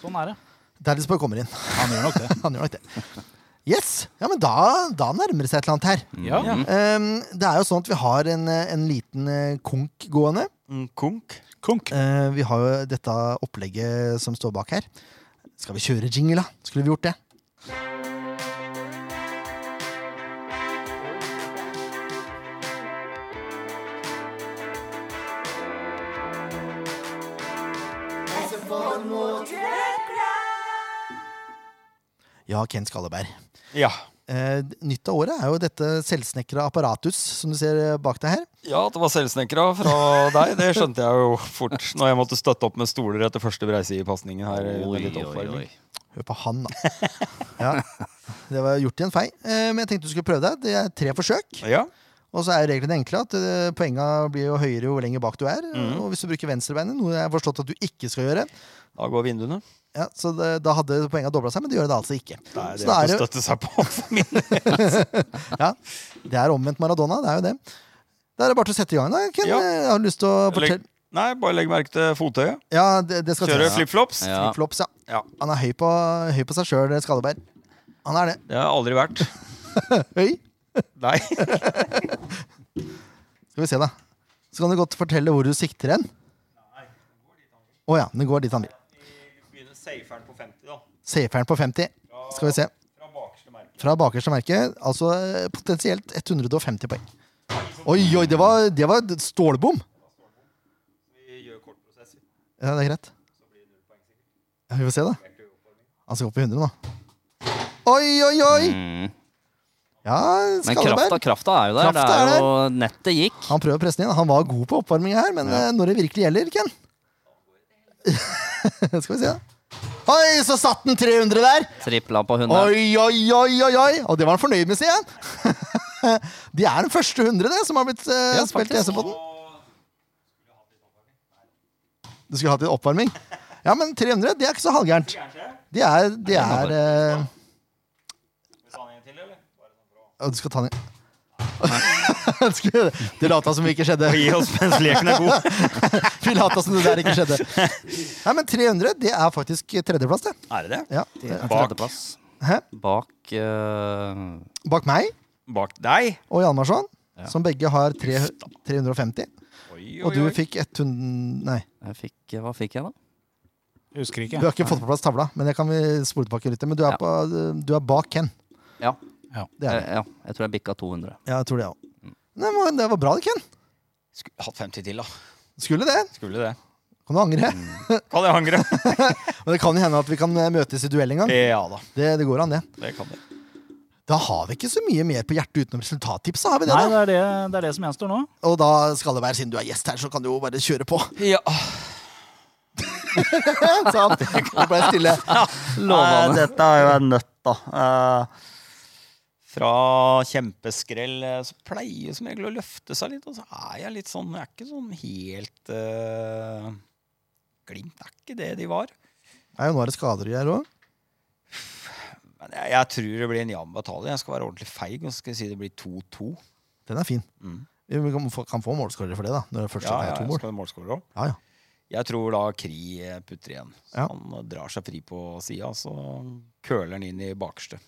Speaker 2: Sånn er det.
Speaker 1: Daddy's Boy kommer inn.
Speaker 2: Han gjør nok det.
Speaker 1: Han gjør nok det. Yes! Ja, men da, da nærmer det seg et eller annet her.
Speaker 2: Ja.
Speaker 3: Mm.
Speaker 1: Ehm, det er jo sånn at vi har en, eh, en liten eh, konk gående.
Speaker 4: Mm, Konk.
Speaker 2: Konk.
Speaker 1: Eh, vi har jo dette opplegget som står bak her. Skal vi kjøre jingle, da? Skulle vi gjort det? Ja, Ken Skalleberg.
Speaker 4: Ja.
Speaker 1: Eh, nytt av året er jo dette selvsnekra apparatus som du ser eh, bak deg her.
Speaker 4: ja, at det var selvsnekra fra deg, det skjønte jeg jo fort når jeg måtte støtte opp med stoler etter første breisidepasningen her. under litt oppvarming.
Speaker 1: Hør på han, da. Ja, det var gjort i en fei. Eh, Men jeg tenkte du skulle prøve deg. Det er tre forsøk.
Speaker 4: Ja.
Speaker 1: Og så er reglene enkle. at eh, Poenga blir jo høyere jo lenger bak du er.
Speaker 4: Mhm.
Speaker 1: Og hvis du bruker venstrebeinet, noe jeg har forstått at du ikke skal gjøre,
Speaker 4: Da går vinduene.
Speaker 1: ja, så det, da hadde poenga dobla seg, men det gjør det altså ikke.
Speaker 4: Nei,
Speaker 1: så
Speaker 4: det
Speaker 1: da
Speaker 4: er
Speaker 1: er
Speaker 4: ikke å
Speaker 1: det,
Speaker 4: støtte seg på. for min del.
Speaker 1: ja, det er omvendt Maradona. Det er jo det. Da er det bare til å sette i gang. da, Ken.
Speaker 4: Ja.
Speaker 1: Jeg har lyst til å
Speaker 4: Legg,
Speaker 1: fortelle
Speaker 4: nei, bare legg merke til fottøyet.
Speaker 1: Ja, det, det skal
Speaker 4: Kjøre
Speaker 1: til.
Speaker 4: flipflops.
Speaker 3: Ja.
Speaker 1: Flops, ja.
Speaker 4: Ja.
Speaker 1: Han er høy på, høy på seg sjøl, Skalleberg. Han er det.
Speaker 4: Det har jeg aldri vært.
Speaker 1: Høy.
Speaker 4: Nei.
Speaker 1: Skal vi se, da. Så kan du godt fortelle hvor du sikter hen. Å ja, den går dit han vil.
Speaker 4: Begynner saferen på 50, da.
Speaker 1: Saferen på 50. Skal vi se.
Speaker 4: Fra bakerste merke.
Speaker 1: Fra bakerste merke. Altså eh, potensielt 150 poeng. Oi, oi, det var, det var et stålbom!
Speaker 4: Vi gjør kortprosess.
Speaker 1: Ja, det er greit. Ja, vi får se, da. Han skal opp i 100 nå. Oi, oi, oi!
Speaker 3: Mm.
Speaker 1: Ja,
Speaker 3: Men krafta,
Speaker 1: Skalleberg.
Speaker 3: krafta er jo der.
Speaker 1: Krafta
Speaker 3: det
Speaker 1: er
Speaker 3: er jo Nettet gikk.
Speaker 1: Han prøver å presse den inn. Han var god på oppvarming her, men eh, når det virkelig gjelder, Ken Skal vi se, da. Oi, så satt den 300 der!
Speaker 3: Tripla på 100.
Speaker 1: Oi, oi, oi, oi, oi! Og det var han fornøyd med, sier jeg. De er den første hundre det, som har blitt eh, spilt i SV-podden. Du skulle hatt litt oppvarming? Ja, men 300, det er ikke så halvgærent. Det er, det er eh, ja, Du skal ta den Du skulle- Du lata som det ikke skjedde.
Speaker 4: Gi oss mens leken er god.
Speaker 1: Vi lata som det der ikke skjedde. Nei, men 300, det er faktisk tredjeplass, det.
Speaker 4: Er det det?
Speaker 1: Ja.
Speaker 4: Bak.
Speaker 3: Tredjeplass.
Speaker 1: Hæ?
Speaker 3: Bak eh,
Speaker 1: Bak meg
Speaker 4: Bak deg.
Speaker 1: og Hjalmarsson, som begge har tre, 350.
Speaker 4: Oi,
Speaker 1: Og du fikk 100 Nei,
Speaker 3: jeg fikk, Hva fikk jeg, da?
Speaker 2: Husker
Speaker 1: du
Speaker 2: ikke.
Speaker 1: har ikke fått på plass tavla, men jeg kan vi spole tilbake litt. Men du er,
Speaker 3: Ja.
Speaker 1: på, du er bak Ken.
Speaker 3: Ja,
Speaker 1: Det er
Speaker 3: jeg,
Speaker 1: det.
Speaker 3: Eh, ja, jeg tror jeg bikka 200.
Speaker 1: Ja, jeg tror det, jeg òg. Det var bra, det, Ken.
Speaker 4: Skulle hatt 50 til, da.
Speaker 1: Skulle det.
Speaker 4: Skulle det.
Speaker 1: Kan du angre?
Speaker 4: Kan jeg angre?
Speaker 1: Men det kan jo hende at vi kan eh, møtes i duell en gang.
Speaker 4: ja da,
Speaker 1: Det, det går an, det.
Speaker 4: det kan jeg.
Speaker 1: Da har vi ikke så mye mer på hjertet utenom resultattipset, har vi det? da?
Speaker 2: Nei, det er det, det er det som gjenstår nå.
Speaker 1: Og da, Skalleberg, siden du er gjest her, så kan du jo bare kjøre på.
Speaker 4: Ja.
Speaker 1: Så han kan bare stille.
Speaker 3: Lovende.
Speaker 4: Nei, dette er jo en nøtt, da. Eh, fra kjempeskrell eh, så pleier som regel å løfte seg litt, og så er jeg litt sånn Jeg er ikke sånn helt eh, Glimt er ikke det de var.
Speaker 1: Nei, nå er det skader her òg.
Speaker 4: Men jeg, jeg tror det blir en jevn batalje. Jeg skal være ordentlig feig og så skal jeg si det blir 2-2.
Speaker 1: Den er fin.
Speaker 4: Mm.
Speaker 1: Vi kan få- kan få målskårere for det, da. Når det først
Speaker 4: Ja,
Speaker 1: er
Speaker 4: ja,
Speaker 1: to
Speaker 4: jeg
Speaker 1: mål.
Speaker 4: skal være målskårer også.
Speaker 1: Ja, ja.
Speaker 4: Jeg tror da Kri eh, putter igjen. Så
Speaker 1: Ja.
Speaker 4: Han eh, drar seg fri på sida, så køler han inn i bakerste.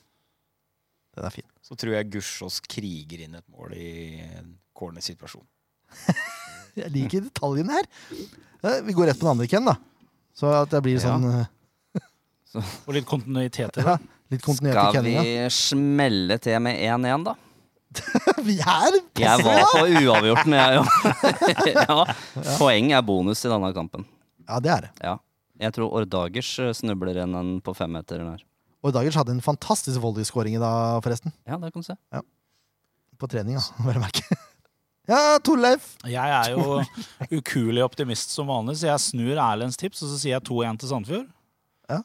Speaker 1: Den er fin.
Speaker 4: Så tror jeg Gussiås kriger inn et mål i en corner situasjon.
Speaker 1: Jeg liker detaljene her. Eh, Vi går rett på den andre igjen, da. Så at det blir
Speaker 3: Ja.
Speaker 1: sånn eh,
Speaker 2: Og litt kontinuitet i det.
Speaker 1: ja, litt kontinuitet i
Speaker 3: Skal vi
Speaker 1: kenninga.
Speaker 3: smelle til med 1-1, da?
Speaker 1: Vi er
Speaker 3: Jeg
Speaker 1: passive!
Speaker 3: var på uavgjorten, jeg òg. ja. Poeng er bonus i denne kampen.
Speaker 1: Ja, det er det.
Speaker 3: Ja. Jeg tror Ordagers eh, snubler en en på femmeteren her.
Speaker 1: Og Dagers hadde en fantastisk volleyskåring i dag, forresten.
Speaker 3: Ja, det kan du se.
Speaker 1: På trening, da, vel å merke. Ja, Torleif!
Speaker 2: Jeg er jo ukuelig optimist som vanlig, så jeg snur Erlends tips, og så sier jeg 2-1 til Sandefjord.
Speaker 1: Ja.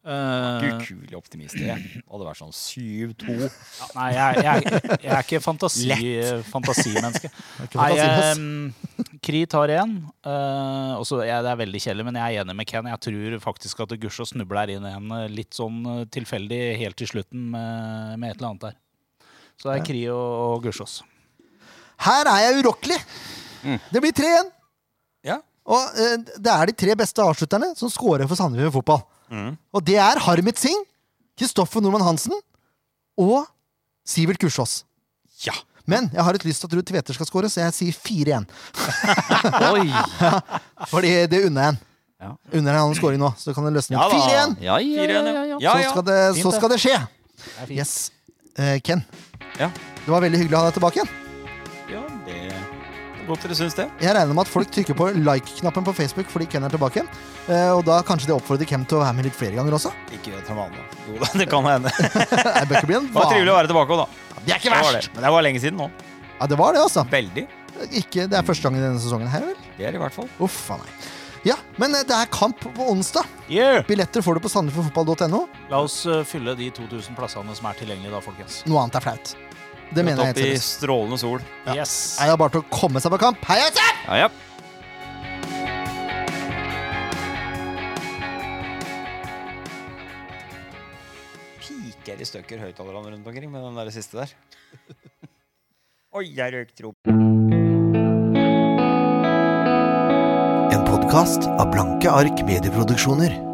Speaker 2: Eh,
Speaker 4: Ukulig optimist. Det hadde vært sånn 7-2.
Speaker 2: ja, nei, jeg, jeg, jeg er ikke fantasi, fantasimenneske.
Speaker 1: Det sånn. er ikke
Speaker 2: Nei,
Speaker 1: fantasi, ass.
Speaker 2: eh, Kri tar én. eh, og så- jeg- det er veldig kjedelig, men jeg er enig med Ken. Jeg tror faktisk at Gusjå snubler inn en eh, litt sånn eh, tilfeldig helt til slutten med, med et eller annet der. Så det er Kri og, og Gusjås.
Speaker 1: Her er jeg urokkelig! Det blir 3-1.
Speaker 4: Ja.
Speaker 1: Og eh, det er de tre beste avslutterne som scorer for Sandefjord fotball.
Speaker 4: Mm.
Speaker 1: Og det er Harmet Singh, Kristoffer Nordmann Hansen og Sivert Kursås.
Speaker 4: Ja.
Speaker 1: Men jeg har et lyst til at Ruud Tveter skal score, så jeg sier 4-1.
Speaker 3: Oi!
Speaker 1: Fordi det unner jeg en.
Speaker 3: Ja.
Speaker 1: Unner jeg han scoring nå, så kan det løsne.
Speaker 4: Ja da.
Speaker 1: 4-1!
Speaker 3: Ja, ja, ja, ja, ja.
Speaker 4: Ja,
Speaker 1: Så,
Speaker 4: ja.
Speaker 1: skal det,
Speaker 2: Fint,
Speaker 1: så
Speaker 2: det.
Speaker 1: skal det skje.
Speaker 2: Det er fint.
Speaker 1: Yes. Eh, Ken,
Speaker 4: Ja.
Speaker 1: det var veldig hyggelig å ha deg tilbake igjen.
Speaker 4: ja det det er godt dere syns det.
Speaker 1: Jeg regner med at folk trykker på like-knappen på Facebook fordi Ken er tilbake igjen. Eh, og da kanskje de oppfordrer Ken til å være med litt flere ganger også.
Speaker 4: Ikke gjør det til vanlig. Jo da, det kan hende. Det
Speaker 1: Nei, bør ikke bli en
Speaker 4: var trivelig å
Speaker 1: vane.
Speaker 4: være tilbake òg, da.
Speaker 1: Det er ikke
Speaker 4: Det var det.
Speaker 1: verst!
Speaker 4: Men det var lenge siden nå.
Speaker 1: Ja, det var det, altså.
Speaker 4: Veldig.
Speaker 1: Ikke, det er første gangen i denne sesongen her, vel?
Speaker 4: Det er i hvert fall.
Speaker 1: Uff a meg. Ja, men eh, det er kamp på onsdag.
Speaker 2: Yeah!
Speaker 1: Billetter får du på sandefjordfotball.no.
Speaker 2: La oss eh, fylle de 2000 plassene som er tilgjengelige da, folkens.
Speaker 1: Noe annet er flaut. Det mener jeg helt
Speaker 4: Opp i
Speaker 1: seriøst.
Speaker 4: strålende sol.
Speaker 2: Yes!
Speaker 1: Nei, Det er bare til å komme seg på kamp. Heia Sandefjord!
Speaker 3: ja, ja.
Speaker 4: Piker i stykker høyttalerne rundt omkring med den der siste der. Oi, jeg røyk tro
Speaker 7: En podkast av Blanke ark medieproduksjoner.